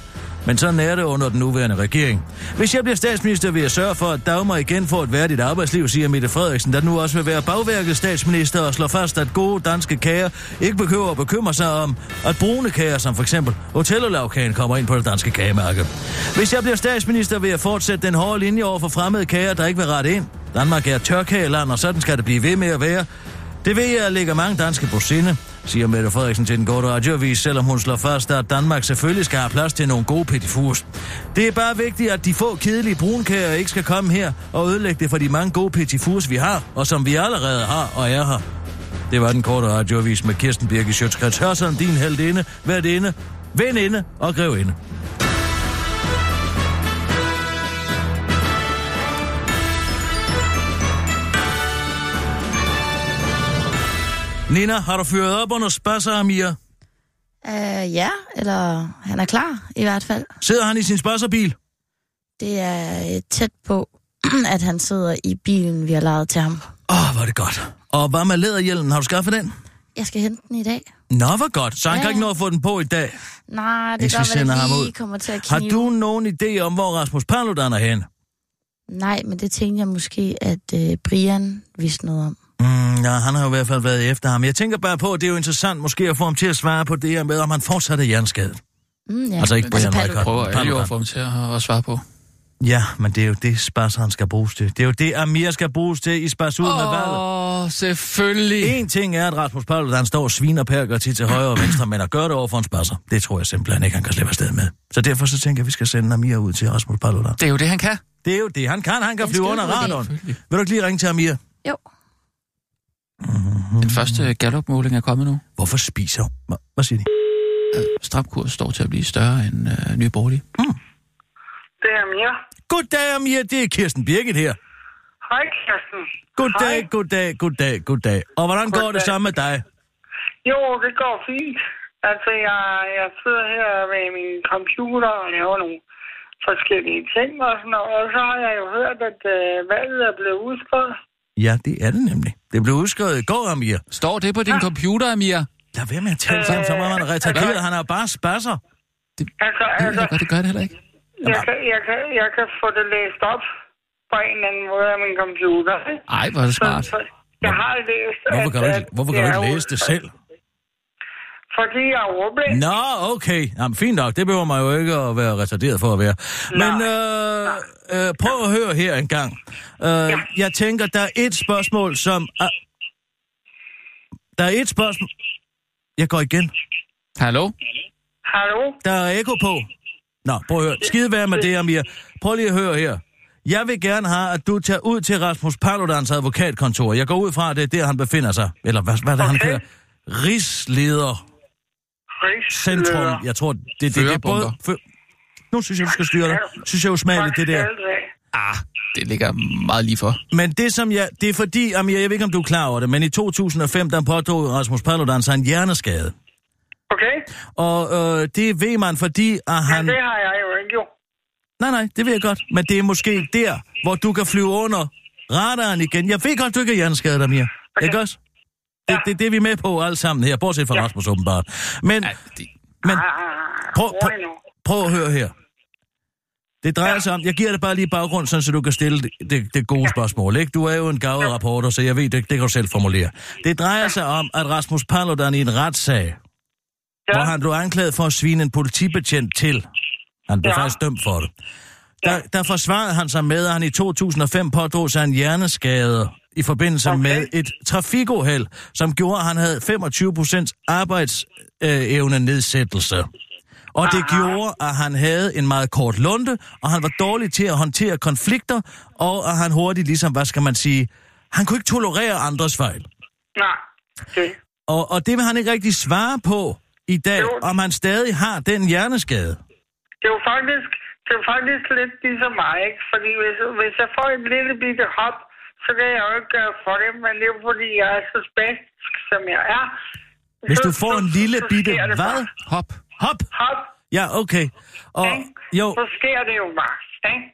B: Men sådan er det under den nuværende regering. Hvis jeg bliver statsminister, vil jeg sørge for, at Dagmar igen får et værdigt arbejdsliv, siger Mette Frederiksen, der nu også vil være bagværkets statsminister og slår fast, at gode danske kager ikke behøver at bekymre sig om, at brune kager, som for eksempel hotellerlavkagen, kommer ind på det danske kagemarked. Hvis jeg bliver statsminister, vil jeg fortsætte den hårde linje over for fremmede kager, der ikke vil rette ind. Danmark er et tørkageland, og sådan skal det blive ved med at være. Det ved jeg ligger mange danske på sinde, siger Mette Frederiksen til den korte radioavis, selvom hun slår fast, at Danmark selvfølgelig skal have plads til nogle gode petifurs. Det er bare vigtigt, at de få kedelige brunkager ikke skal komme her og ødelægge det for de mange gode petifurs, vi har, og som vi allerede har og er her. Det var den korte radioavis med Kirsten Birke Sjøtskrets Hørsson, din heldinde, værtinde, veninde og grevinde. Nina, har du fyret op under spasser, Amir?
D: Øh, ja, eller han er klar i hvert fald.
B: Sidder han i sin spasserbil?
D: Det er øh, tæt på, at han sidder i bilen, vi har lejet til ham.
B: Åh, oh, hvor er det godt. Og hvad med læderhjelmen? Har du skaffet den?
D: Jeg skal hente den i dag.
B: Nå, hvor godt. Så han ja.
D: Ja,
B: kan ikke
D: ja.
B: nå at få den på i dag.
D: Nej,
B: Jeg
D: det
B: skal
D: gør, at
B: sende ham
D: det lige
B: ud.
D: kommer til at
B: Har
D: knive.
B: du nogen idé om, hvor Rasmus Paludan er henne?
D: Nej, men det tænkte jeg måske, at øh, Brian vidste noget om.
B: Mm, ja, han har jo i hvert fald været efter ham. Jeg tænker bare på, at det er jo interessant måske at få ham til at svare på det her med, om han fortsat er hjerneskadet.
D: Mm, ja.
B: Altså ikke Brian
D: Paludan.
B: Rykker.
C: Prøver alle jo
B: Paludan.
C: at få dem til at, at svare på.
B: Ja, men det er jo det, Spars han skal bruges til. Det er jo det, Amir skal bruges til i Spars ud med valget.
C: Åh, oh, selvfølgelig.
B: En ting er, at Rasmus Paludan står og sviner perker til til højre og venstre, men at gøre det over for en spasser, det tror jeg simpelthen ikke, han kan slippe afsted med. Så derfor så tænker jeg, at vi skal sende Amir ud til Rasmus Paludan.
C: Det er jo det, han kan.
B: Det er jo det, han kan. Han kan
D: En
B: flyve under
D: skidegod idé.
B: radaren. Vil du ikke lige ringe til Amir?
D: Jo.
C: Den første Gallup-måling er kommet nu.
B: Hvorfor spiser hun? Hva- Hvad siger de?
C: Øh, Stram kurs står til at blive større end øh, Nye Borgerlige.
G: Det er Mia.
B: Goddag, Amir. Det er Kirsten Birgit her.
G: Hej, Kirsten. Hej.
B: Goddag, goddag, goddag, goddag. Og hvordan går det
G: Goddag.
B: sammen med dig?
G: Jo, det går fint. Altså, jeg, jeg sidder her med min computer og laver nogle forskellige ting og sådan noget. Og så har jeg jo hørt, at øh, valget er blevet udskrevet.
B: Ja, det er det nemlig. Det blev udskrevet i går, Amir.
C: Står det på din computer, Amir?
B: Lad være med at tale sammen, så meget man
G: Øh,
B: er retarderet. Han er bare spasser.
G: Altså,
C: Det,
G: altså
C: jeg godt, det gør det heller ikke.
G: jeg, kan, jeg, kan, jeg kan få det læst op på en eller anden måde af min computer. ikke?
C: Ej, hvor er det
G: Så,
C: smart.
G: så jeg har læst,
B: Hvorfor
G: at-
B: kan du ikke,
G: at
B: hvorfor kan du
G: jeg
B: ikke
G: er
B: læse det
G: ud-
B: selv?
G: Fordi jeg er ordblind.
B: Nå, okay. Jamen, fint nok. Det behøver man jo ikke at være retarderet for at være. Men øh, øh, prøv at høre her en gang. Øh, jeg tænker, der er et spørgsmål, som... Er... Der er et spørgsmål... Jeg går igen.
C: Hallo?
G: Hallo?
B: Der er ekko på. Nå, prøv at høre. Skide være med det, Amir. Prøv lige at høre her. Jeg vil gerne have, at du tager ud til Rasmus Paludans advokatkontor. Jeg går ud fra, at det er der, han befinder sig. Eller hvad, hvad er det, han
G: Okay.
B: kalder? Rigsleder Centrum.
G: Rigsleder.
B: Jeg tror, det, det, det er både... Fø... Nu synes jeg, du skal styre dig. Synes jeg er usmageligt, det der.
G: Tak skal du have.
C: Det ligger meget lige for.
B: Men det som jeg... Det er fordi, Amir, jeg ved ikke, om du er klar over det, men i 2005, der påtog Rasmus Paludan sig en hjerneskade.
G: Okay,
B: Og øh, det ved man, fordi at han...
G: men det har jeg jo ikke jo.
B: Nej, nej, det ved jeg godt. Men det er måske der, hvor du kan flyve under radaren igen. Jeg ved godt, du ikke er hjerneskadet, Amir. Okay. Ikke også? Det, det, det er vi med på alle sammen her, bortset fra ja. Rasmus åbenbart. Men
C: Ej, det,
B: Men
G: Ah,
B: prøv, prøv,
G: rolig nu.
B: prøv at høre her. Det drejer sig om, jeg giver dig bare lige baggrund, sådan, så du kan stille det, det, det gode spørgsmål. Ikke? Du er jo en gavet rapporter, så jeg ved, det, det kan du selv formulere. Det drejer sig om, at Rasmus Paludan i en retssag, ja. hvor han blev anklaget for at svine en politibetjent til. Han blev ja.
G: Ja.
B: faktisk dømt for det. Der, der forsvarede han sig med, at han i 2005 pådrog sig en hjerneskade i forbindelse okay.
G: Okay.
B: med et trafikuheld, som gjorde, at han havde 25 procents arbejdsevne nedsættelse. Og det gjorde, at han havde en meget kort lunte, og han var dårlig til at håndtere konflikter, og at han hurtigt ligesom, hvad skal man sige, han kunne ikke tolerere andres fejl.
G: Nej, okay.
B: Og, og det vil han ikke rigtig svare på i dag,
G: Jo.
B: om han stadig har den hjerneskade.
G: Det er jo faktisk det er faktisk lidt ligesom mig, ikke? Fordi hvis, hvis jeg får et lille bitte hop, så kan jeg jo ikke gøre for det, men det er jo fordi, jeg er så spænsk, som jeg er.
B: Hvis
G: Så-
B: du får en
G: så-
B: lille
G: så
B: bitte
G: sker det
B: hvad?
G: bare.
C: Hop.
B: Hop!
G: Hop,
B: Ja, okay. Og
G: ikke?
B: jo,
G: Så sker det jo bare, ikke?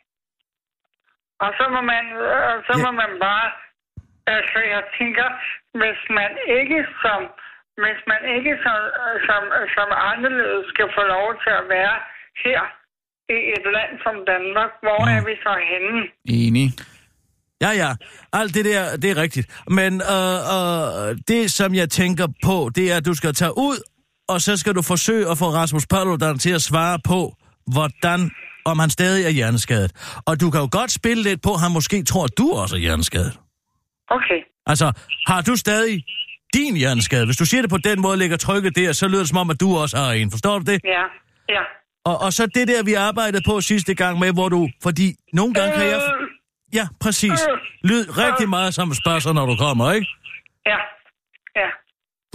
G: Og så må man, og så
B: Ja.
G: må man bare... Altså, jeg tænker, hvis man ikke som... Hvis man ikke som, øh, som, som anderledes skal få lov til at være her i et land som Danmark, hvor
B: Mm.
C: Ja.
G: er vi så henne?
C: Enig.
B: ja, ja. Alt det der, det er rigtigt. Men øh, øh, det, som jeg tænker på, det er, at du skal tage ud, og så skal du forsøge at få Rasmus Paludan til at svare på, hvordan om han stadig er hjerneskadet. Og du kan jo godt spille lidt på, at han måske tror, at du også er hjerneskadet.
G: Okay.
B: Altså, har du stadig din hjerneskade? Hvis du siger det på den måde, ligger trykket der, så lyder det som om, at du også har en. Forstår du det?
G: Ja, ja.
B: Og, og så det der, vi arbejdede på sidste gang med, hvor du... Fordi nogle gange kan jeg...
G: Øh,
B: Ja, præcis. Lyd rigtig meget som en spørger, når du kommer, ikke?
G: Ja, ja.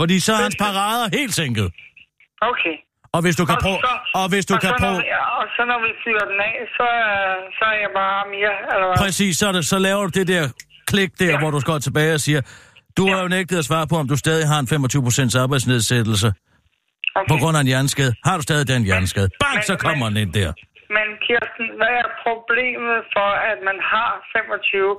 B: Fordi så er hans parader helt sænket.
G: Okay.
B: Og hvis du kan
G: Og
B: prøve...
G: så-
B: Og hvis du
G: og
B: kan
G: så, når
B: prøve...
G: vi, og så når vi fyrer den af, så, øh, så er jeg bare mere, eller hvad?
B: Præcis, så, er det, så laver du det der klik der, ja. hvor du skal tilbage og siger... Du har jo nægtet at svare på, om du stadig har en 25% arbejdsnedsættelse
G: Okay.
B: på grund af en hjerneskade. Har du stadig den hjerneskade? Bang,
G: Men-
B: så kommer den
G: men-
B: ind der.
G: Men Kirsten, hvad er problemet for, at man har 25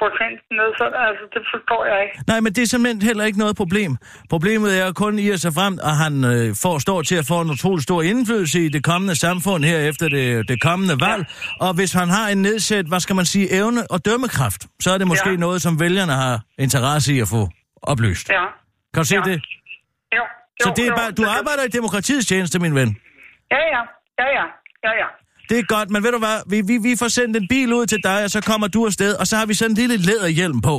G: procent nedsat? Altså, det forstår jeg ikke.
B: Nej, men det er simpelthen heller ikke noget problem. Problemet er kun i at sig frem, at han øh, får, står til at få en utrolig stor indflydelse i det kommende samfund her efter det, det kommende valg. Og hvis han har en nedsat, hvad skal man sige, evne og dømmekraft, så er det måske ja.
G: Ja.
B: noget, som vælgerne har interesse i at få oplyst. Ja.
G: Ja.
B: Kan du se
G: Ja.
B: det?
G: Jo, jo,
B: Så det er
G: jo,
B: bare, du arbejder i demokratiets tjeneste, min ven.
G: Ja, ja. Ja, ja. Ja, ja.
B: Det er godt, men ved du hvad, vi, vi, vi får sendt en bil ud til dig, og så kommer du afsted, og så har vi sådan en lille læderhjelm på.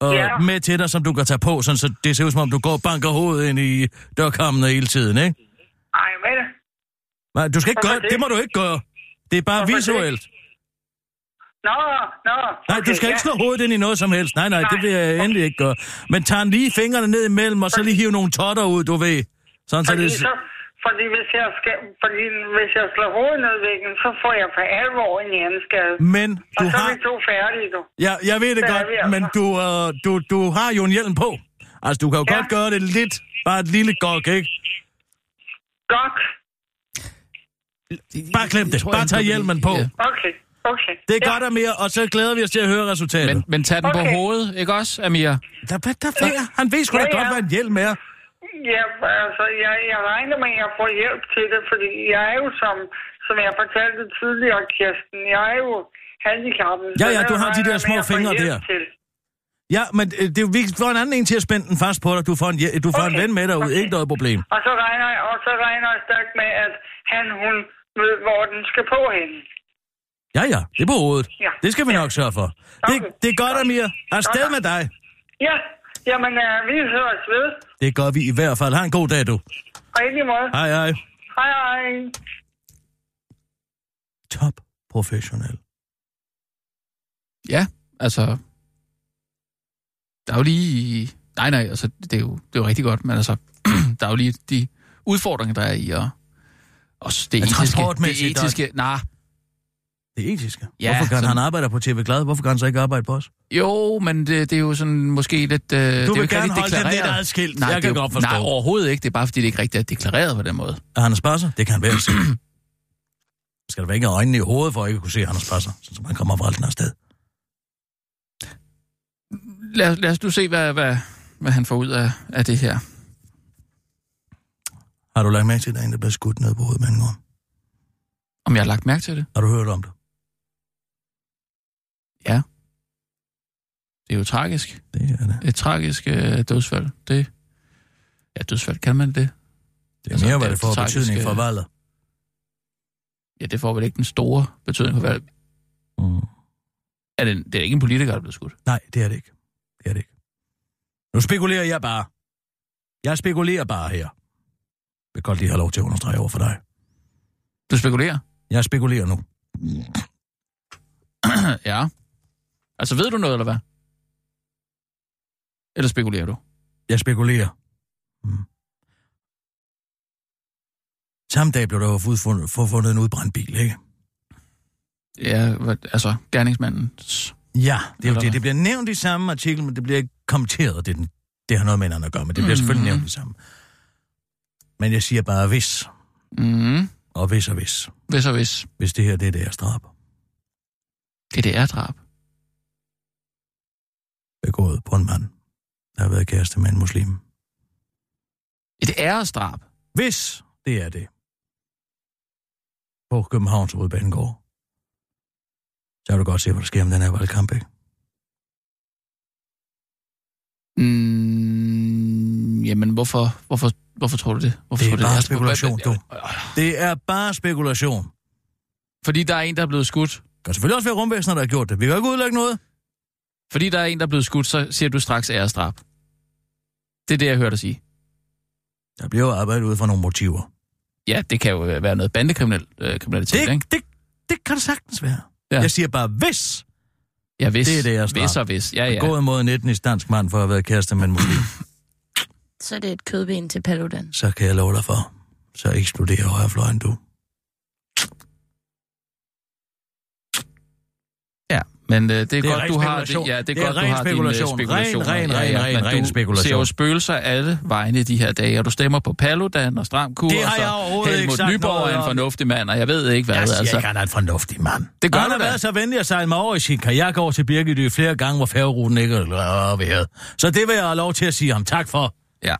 B: Og
G: Ja.
B: med til dig, som du kan tage på, sådan, så det ser ud som om, du går og banker hovedet ind i dørkammen hele tiden, ikke?
G: Ej, hvad er det?
B: Nej, du skal ikke
G: Hvorfor
B: gøre det.
G: det?
B: det må du ikke gøre. Det er bare
G: Hvorfor det?
B: visuelt.
G: Nå, nå.
B: Nej, du
G: okay,
B: skal ikke
G: ja.
B: slå hovedet ind i noget som helst. Nej, nej, nej. det
G: Nej.
B: vil jeg endelig ikke gøre. Men tag lige fingrene ned imellem, og så lige hive nogle totter ud, du ved. Sådan så
G: Fordi,
B: det...
G: så, fordi, hvis jeg skal, fordi hvis jeg slår hovedet ned i væggen, så får jeg for alvor en hjerneskade.
B: Men
G: Og
B: du
G: så er
B: har...
G: vi to færdige, du.
B: Ja, jeg ved det
G: Der er
B: godt,
G: vi altså.
B: men du, øh, du, du har jo en hjelm på. Altså, du kan jo ja.
G: Ja.
B: godt gøre det lidt, bare et lille gok, ikke?
G: Godt.
B: Bare klem det.
C: Jeg tror, jeg
B: Bare tag
C: ændrer det.
B: hjelmen på.
C: Ja.
G: Okay, okay.
B: Det er godt og mere, og så glæder vi os til at høre resultatet.
C: Men,
B: Men,
C: men tag den okay.
G: Okay.
C: på hovedet, ikke også, Amir?
B: der, hvad der flere? Han ved sgu da
G: Ja, ja.
B: godt, hvad en hjelm er.
G: Ja, altså, jeg, jeg regner med, at jeg får hjælp til det, fordi jeg er jo, som, som jeg fortalte tidligere, Kirsten, jeg er jo handicappet.
B: Ja,
G: så
B: ja,
G: der
B: du har de
G: regner
B: der
G: jeg
B: små
G: med, at jeg får
B: fingre
G: hjælp
B: der.
G: Til.
B: Ja, men øh, det, er jo- vi får en anden en til at spænde den fast på dig. Du får en, hje- du får okay. en
G: Okay.
B: ven med dig ud.
G: Okay.
B: Ikke noget problem.
G: Og så regner jeg, og så regner jeg stærkt med, at han, hun ved, hvor den skal på hende.
B: Ja, ja. Det er på hovedet.
G: Ja.
B: Det skal vi
G: Ja.
B: nok sørge for. Det,
G: Okay.
B: det er godt, Amir. Afsted
G: Godt.
B: med dig.
G: Ja, jamen, øh, vi høres ved,
B: Det gør vi i hvert fald. Ha' en god dag, du.
G: og i lige måde.
B: Hej, hej.
G: Hej, hej.
B: Top professionel.
C: Ja, altså... Der er jo lige... Nej, nej, altså, det er jo, det er jo rigtig godt, men altså, der er jo lige de udfordringer, der er i at... Også det
B: Ja,
C: etiske... Det
B: transportmæssigt, der-
C: etiske... Nej,
B: Det er etiske.
C: Ja,
B: Hvorfor kan
C: sådan-
B: han arbejde på TV Glad? Hvorfor kan han så ikke arbejde på os?
C: jo, men det, det er jo sådan måske lidt... Øh, du det er
B: vil
C: jo ikke
B: gerne
C: rigtig
B: holde den
C: deklareret.
B: lidt adskilt.
C: Nej,
B: Jeg
C: det
B: kan
C: er jo-
B: godt forstå.
C: Nej, overhovedet ikke. Det er bare, fordi det ikke rigtig er deklareret på den måde.
B: Er Anders Basser? Det kan han vel se. Skal der vække øjnene i hovedet, for at ikke kunne se Anders Basser, så man kommer fra alt den her sted.
C: Lad, os- lad os nu se, hvad, hvad, hvad han får ud af, af det her.
B: Har du lagt mærke til, at der er en, der bliver skudt ned på hovedet med en orm?
C: Om jeg har lagt mærke til det.
B: Har du hørt om det?
C: Det er jo tragisk.
B: Det er det.
C: Et tragisk øh, dødsfald. Det, ja, dødsfald kan man det.
B: Det er
C: Altså,
B: mere,
C: det
B: hvad
C: er
B: det får
C: tragisk,
B: betydning for
C: øh,
B: valget.
C: Ja, det får vel ikke den store betydning for valget.
B: Mm.
C: Er det, det er ikke en politiker, der er blevet skudt.
B: Nej, det er det ikke. Det er det ikke. Nu spekulerer jeg bare. Jeg spekulerer bare her. Jeg vil godt lige have lov til at understrege over for dig.
C: Du spekulerer?
B: Jeg spekulerer nu.
C: ja. Altså, ved du noget, eller hvad? Eller spekulerer du?
B: Jeg spekulerer. Mm. Samme dag blev der jo udfundet- forfundet en udbrændt bil, ikke?
C: ja, hvad- altså gerningsmandens...
B: Ja, det er jo
C: Eller
B: det.
C: hvad?
B: Det bliver nævnt i samme artikel, men det bliver ikke kommenteret. Det, er den, det har noget med hinanden at gøre, men det bliver selvfølgelig
C: Mhm.
B: nævnt i samme. Men jeg siger bare hvis,
C: Mm,
B: og hvis og hvis.
C: hvis og hvis.
B: Hvis det her det er deres drab
C: DDR-drab.
B: begået på en mand, der har været kæreste med en muslim.
C: Et æresdrab.
B: Hvis det er det. På Københavns Hovedbanegård. Så kan du godt se, hvad der sker om den her valgkamp, ikke?
C: Mm, jamen, hvorfor, hvorfor, hvorfor tror du det? Hvorfor
B: Det er
C: tror du
B: bare
C: Altså, hvad- hvad-
B: spekulation, du. Det er bare spekulation.
C: Fordi der er en, der er blevet skudt.
B: Det kan selvfølgelig også være rumvæsener, der har gjort det. Vi kan jo ikke udlægge noget.
C: Fordi der er en, der er blevet skudt, så siger du straks æresdrab. Det er det, jeg hørte dig sige.
B: Der bliver jo arbejdet ud fra nogle motiver.
C: Ja, det kan jo være noget bandekriminalitet, øh, kriminalitet,
B: Det,
C: ikke?
B: det, det kan det sagtens være. Ja.
C: Ja.
B: Jeg siger bare, hvis
C: Ja, hvis.
B: Det er det, jeg snakker.
C: Hvis og hvis. Ja,
B: ja.
C: ja.
B: gået mod en etnisk dansk mand for at have været kæreste med en muslim,
D: Så er det et kødben til Paludan.
B: så kan jeg love dig for, så eksploderer højrefløjen du.
C: Ja, men øh, det er,
B: Det er
C: godt,
B: ren
C: du har det.
B: spekulation.
C: Ja, det er,
B: Det er
C: godt, du
B: ren
C: har din øh,
B: spekulation.
C: spekulation.
B: Ren, ren,
C: ja, ja,
B: ren, ren,
C: men
B: ren
C: du
B: spekulation.
C: ser jo spøgelser alle vegne i de her dage, og du stemmer på Paludan og Stram Kurs.
B: Det har jeg
C: og
B: overhovedet ikke
C: Helmut
B: sagt
C: Nyborg
B: noget
C: er en
B: om.
C: fornuftig mand, og jeg ved ikke hvad.
B: Jeg siger altså.
C: altså.
B: ikke, han er en fornuftig mand.
C: Det gør
B: han
C: du
B: har
C: da.
B: været så venlig at sejle mig over i sin kajak over til Birgitø flere gange, hvor færgeruten ikke har været. Så det vil jeg have lov til at sige ham tak for.
C: Ja,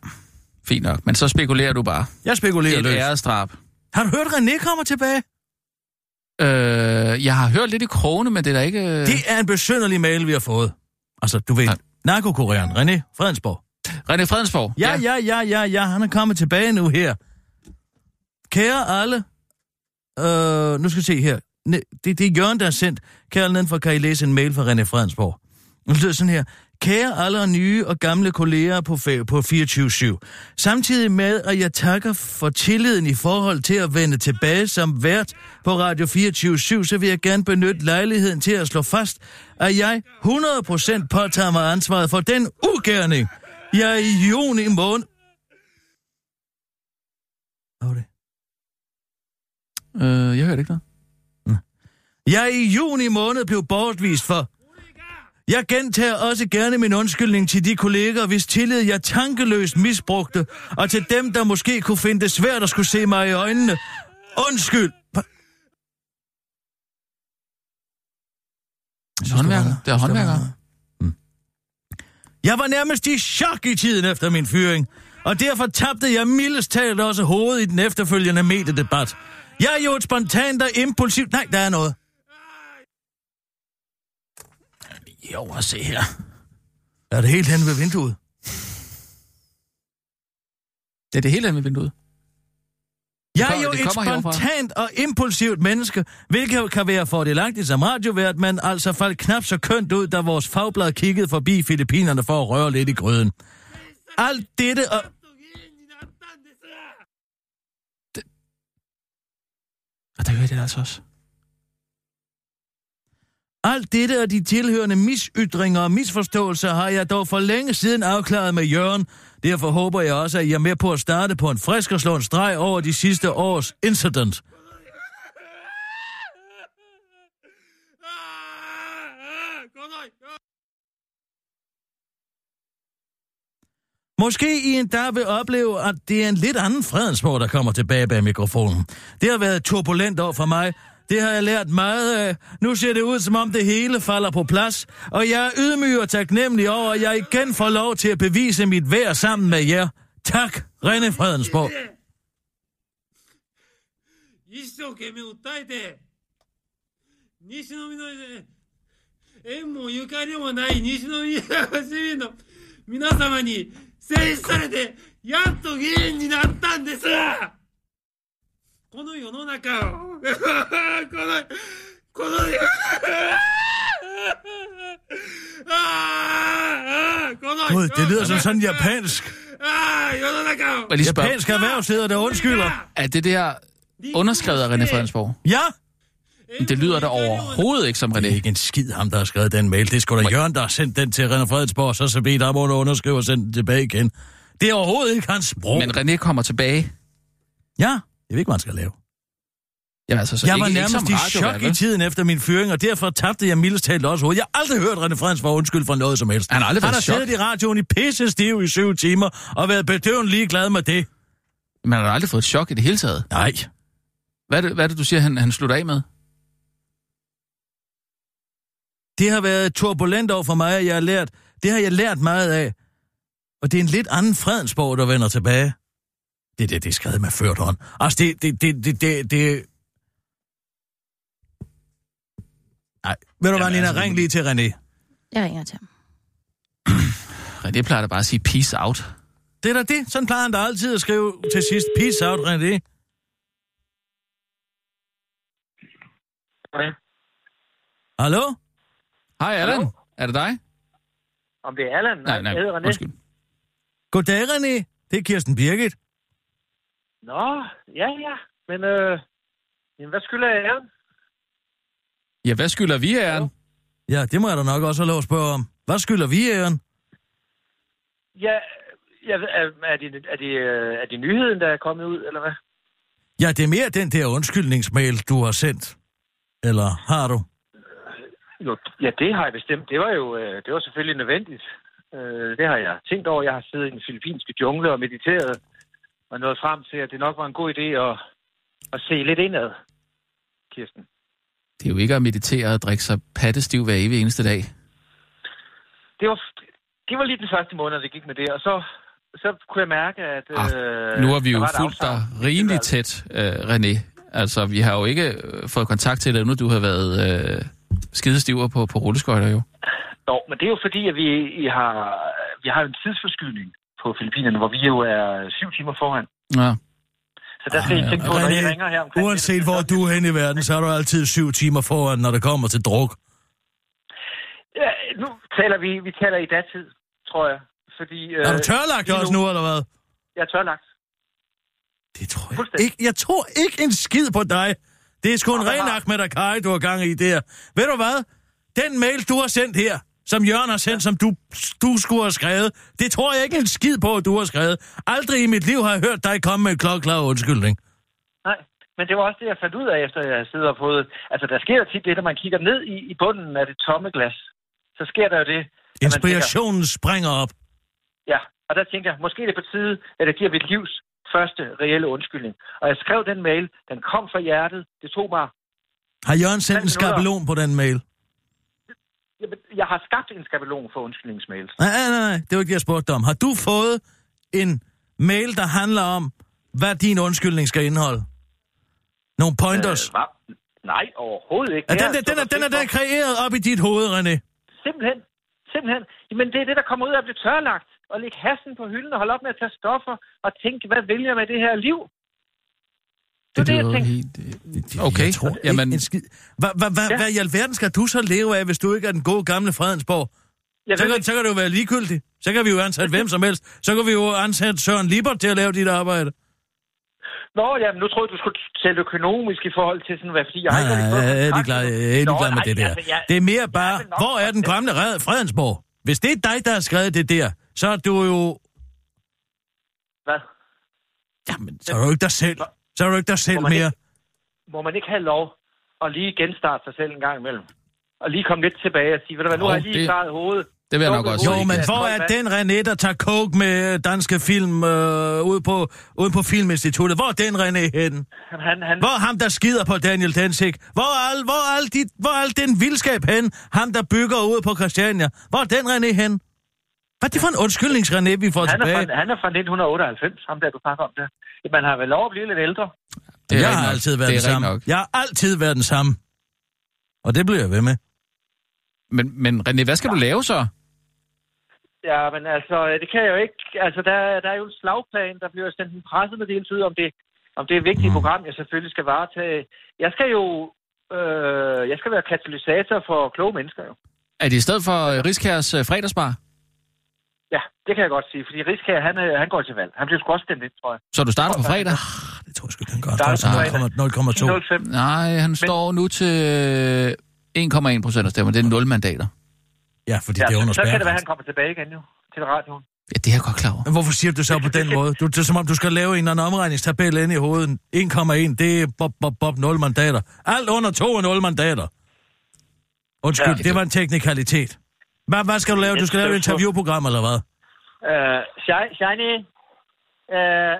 C: fint nok. Men så spekulerer du bare.
B: Jeg spekulerer
C: Et
B: løs.
C: æresdrab.
B: Har du hørt, at René kommer tilbage?
C: Øh, jeg har hørt lidt i krogene, men det er da ikke... øh,
B: Det er en besynderlig mail, vi har fået. Altså, du ved,
C: Nej.
B: narkokureren René Fredensborg.
C: René Fredensborg.
B: Ja, ja, ja, ja, ja, han er kommet tilbage nu her. Kære alle, øh, nu skal vi se her. Ne, det, det er Jørgen, der har sendt. Kære alle nedenfor, kan I læse en mail fra René Fredensborg. Nu lyder det sådan her. Kære alle og nye og gamle kolleger på, fa- på 24-7. Samtidig med, at jeg takker for tilliden i forhold til at vende tilbage som vært på Radio 24-7, så vil jeg gerne benytte lejligheden til at slå fast, at jeg 100% påtager mig ansvaret for den ugerning, jeg i juni måned... Hvad var det?
C: Øh, jeg hørte ikke noget.
B: Jeg i juni måned blev bortvist for. Jeg gentager også gerne min undskyldning til de kolleger, hvis tillid jeg tankeløst misbrugte, og til dem, der måske kunne finde det svært at skulle se mig i øjnene. Undskyld!
C: Håndværker. Det er håndværker.
B: Jeg var nærmest i chok i tiden efter min fyring, og derfor tabte jeg mildest talt også hovedet i den efterfølgende mediedebat. Jeg er jo et spontant og impulsivt... Nej, der er noget.
C: Jo, og se her.
B: Er det helt hen ved vinduet?
C: Det er det hele andet ved vinduet.
B: Jeg er
C: kommer-
B: jo
C: det
B: et
C: kommer heroverfra.
B: spontant og impulsivt menneske, hvilket kan være fordelagtigt som radiovært, men altså faldt knap så kønt ud, da vores fagblad kiggede forbi Filippinerne for at røre lidt i gryden. Alt dette og...
C: Og der hørte jeg altså også.
B: Alt dette og de tilhørende misytringer og misforståelser har jeg dog for længe siden afklaret med Jørgen. Derfor håber jeg også, at I er med på at starte på en frisk og slå en streg over de sidste års incident. Måske I endda vil opleve, at det er en lidt anden Fredensborg, der kommer tilbage bag mikrofonen. Det har været et turbulent år for mig. Det har jeg lært meget af. Nu ser det ud, som om det hele falder på plads. Og jeg er ydmyg og taknemmelig over, at jeg igen får lov til at bevise mit værd sammen med jer. Tak, René Fredensborg. Gud, det lyder som sådan japansk.
C: Og lige spørge,
B: Japansk erhvervsleder, der undskylder.
C: er det der underskrevet af René Fredensborg?
B: Ja?
C: Men Det lyder da overhovedet ikke som
B: Det er
C: René.
B: ikke en skid ham, der har skrevet den mail. Det er sgu da Jørgen, der har sendt den til René Fredensborg, og så så bedt ham under underskrive og sende den tilbage igen. Det er overhovedet ikke hans sprog.
C: Men René kommer tilbage.
B: Ja, jeg ved ikke, hvad han skal lave. Jamen, altså, så
C: jeg
B: ikke,
C: var
B: ikke
C: nærmest
B: som
C: i
B: radiovært,
C: chok i
B: vel?
C: tiden efter min fyring, og derfor tabte jeg mildest talt også hovedet. Jeg har aldrig hørt René Frans være undskyld for noget som helst.
B: Han har aldrig
C: Han
B: været
C: har
B: i chok.
C: siddet i radioen i pisse stiv i syv timer og været bedøvende ligeglad med det.
B: Man har da aldrig fået et chok i det hele taget.
C: Nej.
B: Hvad er det, hvad er det du siger, han, han slutter af med?
C: Det har været et turbulent år for mig, og jeg har lært, det har jeg lært meget af. Og det er en lidt anden fredensborg, der vender tilbage. Det der, det er skrevet med ført hånd. Altså, det, det, det, det, det, det... Nej, ved du hvad, Nina,
B: altså-
C: ring lige til René.
D: Jeg ringer til ham.
B: René plejer da bare at sige peace out.
C: Det er da det. Sådan plejer han da altid at skrive til sidst. Peace out, René.
H: Goddag.
C: Hallo?
B: Hej, Allan.
H: Hallo?
B: Er det dig?
H: Om det er Allan?
B: Nej, nej,
H: jeg hedder René.
B: undskyld.
C: Goddag, René. Det er Kirsten Birgit.
H: Nå, ja, ja. Men øh, jamen, hvad skylder jeg jer?
B: Ja, hvad skylder vi æren?
C: Ja, det må jeg da nok også have lov at spørge om. Hvad skylder vi æren?
H: Ja, jeg, ved- er, er, det, er, det, øh, er det nyheden, der er kommet ud, eller hvad?
C: Ja, det er mere den der undskyldningsmail, du har sendt. Eller har du?
H: Jo, ja, det har jeg bestemt. Det var jo øh, det var selvfølgelig nødvendigt. Øh, det har jeg tænkt over. Jeg har siddet i den filippinske jungle og mediteret, og nået frem til, at det nok var en god idé at, at se lidt indad, Kirsten.
B: Det er jo ikke at meditere og drikke sig pattestiv hver evig eneste dag.
H: Det var, det var lige den første måned, det gik med det, og så, så kunne jeg mærke, at... øh,
B: Ah, nu har vi
H: der
B: jo
H: var et
B: fulgt dig
H: afsavn.
B: rimelig
H: Det var-
B: tæt, øh, René. Altså, vi har jo ikke øh, fået kontakt til dig, nu du har været øh, skidestiver på, på rulleskøjter jo.
H: Nå, men det er jo fordi, at vi, I har, vi har en tidsforskydning på Filippinerne, hvor vi jo er syv timer foran.
B: Ja.
H: Så der skal
B: Ah,
H: I
B: ja.
H: tænke på, når I ringer her omkring...
C: uanset hvor du er henne i verden, så er du altid syv timer foran, når det kommer til druk.
H: Ja, nu taler vi, vi taler i datid, tror jeg. Fordi, øh,
C: Er du tørlagt
H: lige
C: også nu, eller hvad?
H: Jeg er tørlagt.
C: Det tror jeg
H: Fuldstændig.
C: ikke. Jeg tror ikke en skid på dig. Det er sgu en
H: hvad
C: ren
H: har-
C: Ahmed Akari, du har gang i der. Ved du hvad? Den mail, du har sendt her, som Jørgen har sendt, som du, du skulle have skrevet, det tror jeg ikke en skid på, at du har skrevet. Aldrig i mit liv har jeg hørt dig komme med en klokklar undskyldning.
H: Nej, men det var også det, jeg fandt ud af, efter jeg sidder og fået... Altså, der sker jo tit det, når man kigger ned i, i bunden af det tomme glas. Så sker der jo det... at man tænker,
C: Inspirationen springer op.
H: Ja, og der tænker jeg, måske er det på tide, at jeg giver mit livs første reelle undskyldning. Og jeg skrev den mail, den kom fra hjertet, det tog mig...
C: Har Jørgen sendt
H: Fem
C: en
H: minutter.
C: skabelon på den mail?
H: Jamen, Jeg har skabt en skabelon for undskyldningsmails.
C: Nej, nej, nej, nej. Det var ikke det, jeg spurgte dig om. Har du fået en mail, der handler om, hvad din undskyldning skal indeholde? Nogle pointers?
H: hvad? Øh, Nej, overhovedet ikke.
C: er
H: Det
C: den,
H: har
C: der,
H: jeg
C: den, er,
H: stor
C: den er
H: respekt
C: der
H: for.
C: kreeret op i dit hoved, René.
H: Simpelthen. Simpelthen. Jamen, det er det, der kommer ud af at blive tørlagt. Og lægge hassen på hylden og holde op med at tage stoffer og tænke, hvad vil jeg med det her liv? Det er det, jeg
B: lyder
H: tænkte.
B: helt, øh, okay,
C: Jeg tror Jamen...
B: jamen,
C: ikke en skid. Hvad hva, hva,
H: Ja.
C: ja. i alverden skal du så leve af, hvis du ikke er den gode gamle Fredensborg?
H: Jeg
C: Så
H: ved,
C: kan,
H: ikke,
C: så kan det jo være ligegyldigt. Så kan vi jo ansætte hvem som helst. Så kan vi jo ansætte Søren Libert til at lave dit arbejde.
H: Nå, jamen, nu tror jeg, du skulle tælle økonomisk i forhold til sådan, hvad fordi jeg
C: Nej,
H: ikke rigtig
C: jeg
H: fået
C: Ah, er ikke
H: kontakt
C: glad, jeg
H: med
C: er
H: nogen.
C: ikke
H: Nå,
C: glad med
H: nej,
C: det der.
H: altså, jeg-
C: Det er mere bare,
H: vil nok
C: hvor er den
H: godt-
C: gamle Red- Fredensborg? Hvis det er dig, der har skrevet det der, så er du jo,
H: Hvad?
C: jamen, så er du ikke dig selv. Så er du ikke dig selv
H: Må man
C: mere.
H: Må man ikke have lov at lige genstarte sig selv en gang imellem? Og lige komme lidt tilbage og sige, ved du hvad, nu
B: Jo,
H: har jeg lige
B: det-
H: klaret hovedet.
B: det vil jeg nok
H: Lukket
B: også
H: hovedet
C: Jo,
H: i
B: sige.
C: men
H: kassen.
C: hvor er
H: Hvad-
C: den René, der tager coke med øh, danske film øh, ude, på, ude på Filminstituttet? Hvor er den René henne?
H: Han, han,
C: Hvor er ham, der skider på Daniel Densik? Hvor er al, hvor er al, dit, hvor er al den vildskab henne? Ham, der bygger ude på Christiania? Hvor er den René henne? Hvad er det for en undskyldnings, René, vi får
H: han, er fra,
C: tilbage?
H: han er fra 1998, ham der, du snakker om der. Man har vel lov at blive lidt ældre.
B: Det er rigtig
C: jeg har
B: nok.
C: altid været
B: Det er
C: den
B: rigtig
C: samme.
B: nok.
C: Jeg har altid været den samme. Og det bliver jeg ved med.
B: Men, men René, hvad skal du lave så?
H: Ja, men altså, det kan jeg jo ikke. Altså, der, der er jo en slagplan, der bliver sendt en pressemeddelelse ud om det, om det vigtige program, jeg selvfølgelig skal varetage. Jeg skal jo øh, jeg skal være katalysator for kloge mennesker, jo.
B: Er det i stedet for øh, Riskærs øh, fredagsbar?
H: Ja, det kan jeg godt sige, fordi Riskær, han, øh, han går til valg. Han bliver sgu også stemt ind, tror jeg.
B: Så du starter på fredag?
C: Ah, Det tror jeg sgu, den gør.
H: Der er
C: Altså
H: fredag.
C: 0,2.
H: 05.
B: Nej, han står nu til øh, 1,1 procent af stemmer. Det er 0 mandater.
C: Ja, fordi
H: Ja,
C: det er under
H: så, så kan det være,
C: spærregrænsen.
H: at han kommer tilbage igen, jo, til radioen.
B: Ja, det er jeg godt klar over.
C: Men hvorfor siger du det så på den måde? Du, det er som om, du skal lave en eller anden omregningstabel ind i hovedet. 1,1, det er bob, bob, bob, 0 mandater. Alt under 2 er 0 mandater. Undskyld, ja, det var en teknikalitet. Hvad, hvad skal du lave? Du skal lave et interviewprogram, eller hvad?
H: Øh, Shi- Shiny, øh,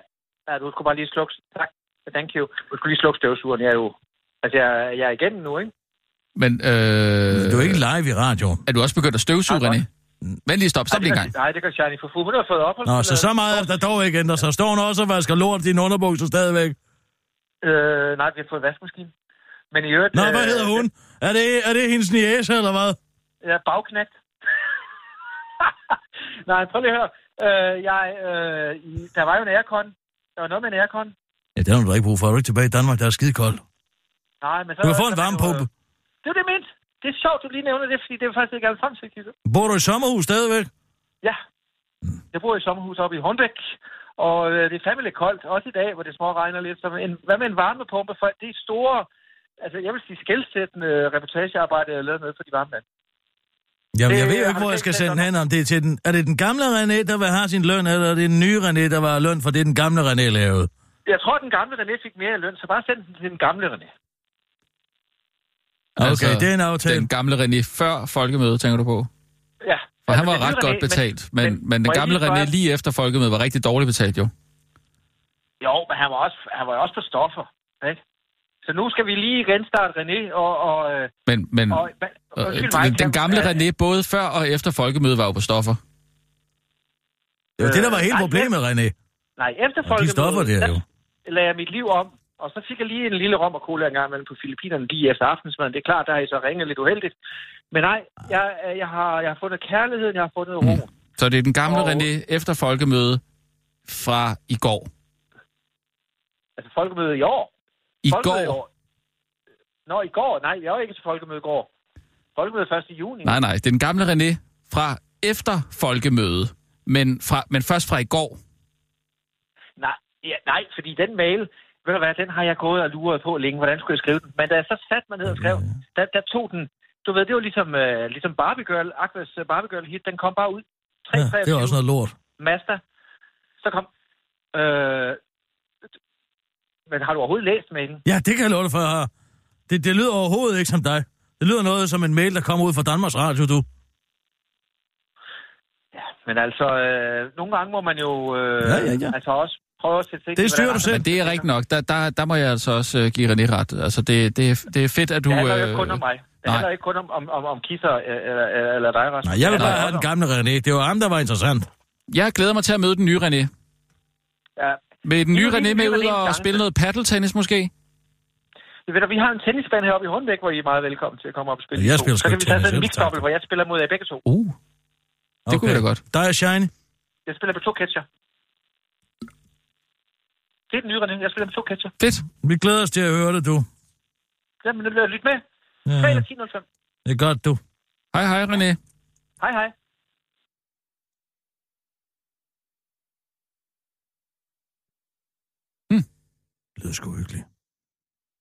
H: ja, du skulle bare lige slukke... Tak, thank you. Du skulle lige slukke støvsugeren, jeg er jo... Altså, jeg, jeg er igennem nu, ikke?
B: Men, øh,
C: Øh... Du er ikke live i radioen.
B: er du også begyndt at støvsuge,
H: Nej,
B: René? Vent lige, stop, stop
H: Nej,
B: lige en
H: det
B: gang.
H: gør- Nej, det gør Shiny for fu. Hun har fået ophold.
C: Nå, så så meget efter dog ikke ændrer sig. Står hun også og vasker lort i dine underbukser stadigvæk?
H: Øh, nej, vi har fået vaskemaskine. Men i øvrigt... øh,
C: Nå, hvad hedder hun? Er det, er det hendes niæse, eller hvad?
H: Ja, bagknægt. nej, prøv lige at høre. Øh, jeg, øh, i- der var jo en aircon. Der var noget med en aircon.
C: Ja, det har du da ikke brug for. Er du ikke tilbage i Danmark? Der er skide koldt.
H: Nej, men så...
C: Du kan få en
H: så-
C: varmepumpe.
H: Det er det, jeg mente. Det er sjovt, du lige nævner det, fordi det er faktisk ikke alt frem til, Kiko.
B: øh,
C: Bor du i sommerhus stadigvæk?
H: Ja. Jeg bor i et sommerhus oppe i Hornbæk, og øh, det er fandme lidt koldt, også i dag, hvor det små regner lidt. Så en, hvad med en varmepumpe? For det er store, altså jeg vil sige skældsættende reportagearbejde, jeg har lavet med for de varme mænd.
C: Jamen, jeg
H: Det
C: ved jo
H: har
C: ikke,
H: du
C: hvor jeg
H: selv
C: skal
H: tænkt
C: sende den
H: dig.
C: hen, om det er til den... Er det den gamle René, der vil have sin løn, eller er det den nye René, der vil have løn for det, den gamle René lavede?
H: Jeg tror, den gamle René fik mere i løn, så bare send den til den gamle René.
C: Okay, det er en aftale.
B: Altså, Den gamle René før folkemødet, tænker du på?
H: Ja.
B: For han var
H: den nye
B: ret godt
H: René,
B: betalt, men, men, men den
H: må jeg
B: gamle
H: lige spørge-
B: René lige efter folkemødet var rigtig dårligt betalt, jo.
H: Jo, men han var også, han var jo også på stoffer, ikke? Så nu skal vi lige genstarte René, og... og, øh,
B: Men, men
H: og,
B: øh,
H: undskyld mig,
B: den, den
H: kan-
B: gamle
H: øh,
B: René, både før og efter folkemødet, var jo på stoffer.
C: Det var det, der var
H: Øh,
C: hele
H: nej,
C: problemet, René.
H: Nej, efter
C: Og de
H: folkemødet...
C: stoffer der jo.
H: der lagde jeg mit liv om, og så fik jeg lige en lille rom og cola en gang imellem på Filippinerne lige efter aftensmaden. Det er klart, der har I så ringet lidt uheldigt. Men nej, jeg, øh, jeg, har, jeg har fundet kærligheden, jeg har fundet ro. Mm.
B: Så det er den gamle
H: Og-
B: René efter folkemødet fra i går.
H: Altså folkemødet i år.
B: I
H: folkemødet
B: går?
H: Nå, i går. Nej, jeg var ikke til folkemødet i går. Folkemødet 1. juni.
B: Nej, nej, det er den gamle René fra efter folkemødet, men, fra, men først fra i går.
H: Nej, ja, nej, fordi den mail, ved du hvad, den har jeg gået og luret på længe. Hvordan skulle jeg skrive den? Men da jeg så satte mig ned og skrev, der, der tog den... Du ved, det var ligesom, øh, ligesom Barbie Girl, Aquas øh, Barbie Girl hit, den kom bare ud. 3,
C: Ja, det er også noget lort.
H: Mazda. Så kom... Øh, men har du overhovedet læst mailen?
C: Ja, det kan jeg love dig for, jeg har. Det, det lyder overhovedet ikke som dig. Det lyder noget som en mail, der kommer ud fra Danmarks Radio, du.
H: Men altså, øh, nogle gange må man jo øh,
C: Ja, ja, ja.
H: altså også prøve at sætte sig ind
C: Det
H: i,
C: styrer
H: hvordan
C: du
H: andre-
C: selv.
B: Men det er rigtigt nok. Der, der, der må jeg altså også øh, give René ret. Altså, det, det, er- det er fedt, at du...
H: Det handler jo
B: øh,
H: ikke kun om mig. Det
B: nej.
H: handler ikke kun om, om, om, om kisser øh, eller, eller- eller dig, Rasmus.
C: Nej, jeg vil
H: Det handler
C: bare have den
H: også om-
C: gamle René. Det var ham, der var interessant.
B: Jeg glæder mig til at møde den nye René.
H: Ja.
B: Med den nye
H: Nu er det
B: René
H: den
B: med
H: nye
B: ud
H: René en
B: og
H: gang.
B: spille noget paddeltennis måske?
H: Ved du, vi har en tennisbane heroppe i Hornbæk, hvor I er meget velkommen til at komme op og spille.
C: Jeg
H: de to.
C: spiller
H: Så
C: sgu
H: kan vi tage
C: tennis,
H: sådan
C: selv
H: en
C: tak.
H: mixdobbel, hvor jeg spiller mod jer begge to.
B: Uh, det kunne vi da godt.
C: Der er Shine.
H: Jeg spiller på to catcher. Det er den nye René. Jeg spiller på to catcher.
B: Fedt.
C: Vi glæder os til at høre det, du.
H: Jamen, nu lyt med.
C: Ja,
H: Fredag
C: ja.
H: 10.05.
C: det er godt, du.
B: Hej, hej René.
H: Hej, hej.
C: Det lyder sgu hyggeligt.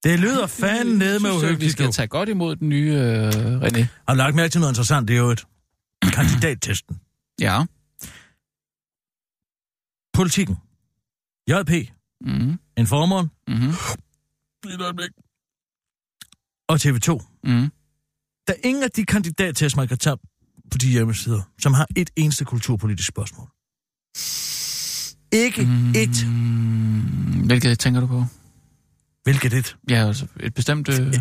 C: Det lyder fanden ned med
B: Jeg synes, at Vi
C: uhyggeligt, du.
B: skal tage godt imod den nye øh, René.
C: Har du lagt mærke til noget interessant, det er jo et kandidattesten.
B: Ja.
C: Politikken. JP.
B: Mm-hmm.
C: Informeren.
B: Mm-hmm.
C: Og TV2.
B: Mm-hmm.
C: Der er ingen af de kandidattest, man kan tage på de hjemmesider, som har et eneste kulturpolitisk spørgsmål. Ikke
B: Mhm.
C: mm. et.
B: Mm, Hvilket tænker du på?
C: Hvilket et?
B: Ja, altså et bestemt... Øh,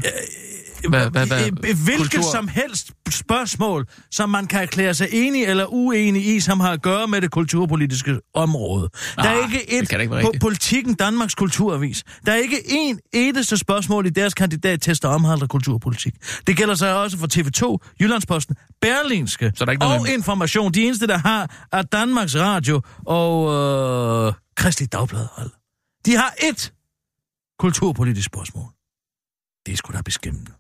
B: hvad, hvad, hvad?
C: Øh, Hvilket
B: Kultur-
C: som helst spørgsmål, som man kan erklære sig enig eller uenig i, som har at gøre med det kulturpolitiske område. Der er
B: Ah,
C: ikke
B: det
C: et
B: kan da ikke være
C: på
B: rigtigt.
C: politikken Danmarks Kulturavis. Der er ikke en eneste spørgsmål i deres kandidattest, der omhandler kulturpolitik. Det gælder sig også for TV2, Jyllandsposten, Berlingske
B: Så der er ikke noget
C: og
B: med-
C: Information. De eneste, der har, er Danmarks Radio og øh, Kristelig Dagblad. hold. De har et kulturpolitisk spørgsmål. Det er sgu da beskæmmende.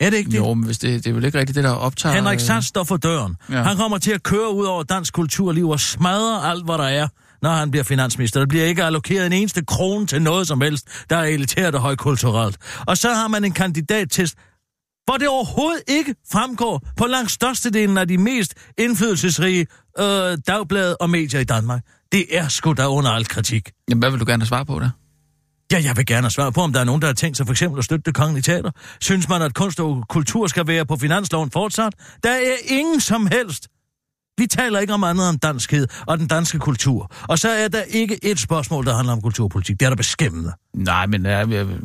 C: Er det ikke det?
B: Jo, men hvis det, det er vel ikke rigtigt det, der optager...
C: Henrik
B: øh,
C: Sass står for døren. Ja.
B: Ja.
C: Han kommer til at køre ud over dansk kulturliv og smadre alt, hvad der er, når han bliver finansminister. Der bliver ikke allokeret en eneste krone til noget som helst, der er elitært og højkulturelt. Og så har man en kandidattest, hvor det overhovedet ikke fremgår på langt størstedelen af de mest indflydelsesrige øh, dagblad og medier i Danmark. Det er sgu da under al kritik.
B: Jamen, hvad vil du gerne svare på der?
C: Ja, jeg vil gerne have svar på, om der er nogen, der har tænkt sig for eksempel at støtte det kongelige teater. Synes man, at kunst og kultur skal være på finansloven fortsat? Der er ingen som helst. Vi taler ikke om andet end danskhed og den danske kultur. Og så er der ikke et spørgsmål, der handler om kulturpolitik. Det er der beskæmmende.
B: Nej, men er,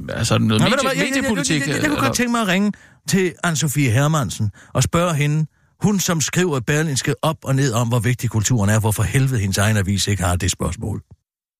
B: altså noget
C: Nå,
B: medie,
C: ved du hvad, jeg- jeg- jeg-
B: mediepolitik...
C: Jeg, jeg, jeg, jeg, jeg kunne
B: eller-
C: godt tænke mig at ringe til Anne-Sophie Hermansen og spørge hende, hun som skriver Berlinske op og ned om, hvor vigtig kulturen er, hvorfor helvede hendes egen avis ikke har det spørgsmål.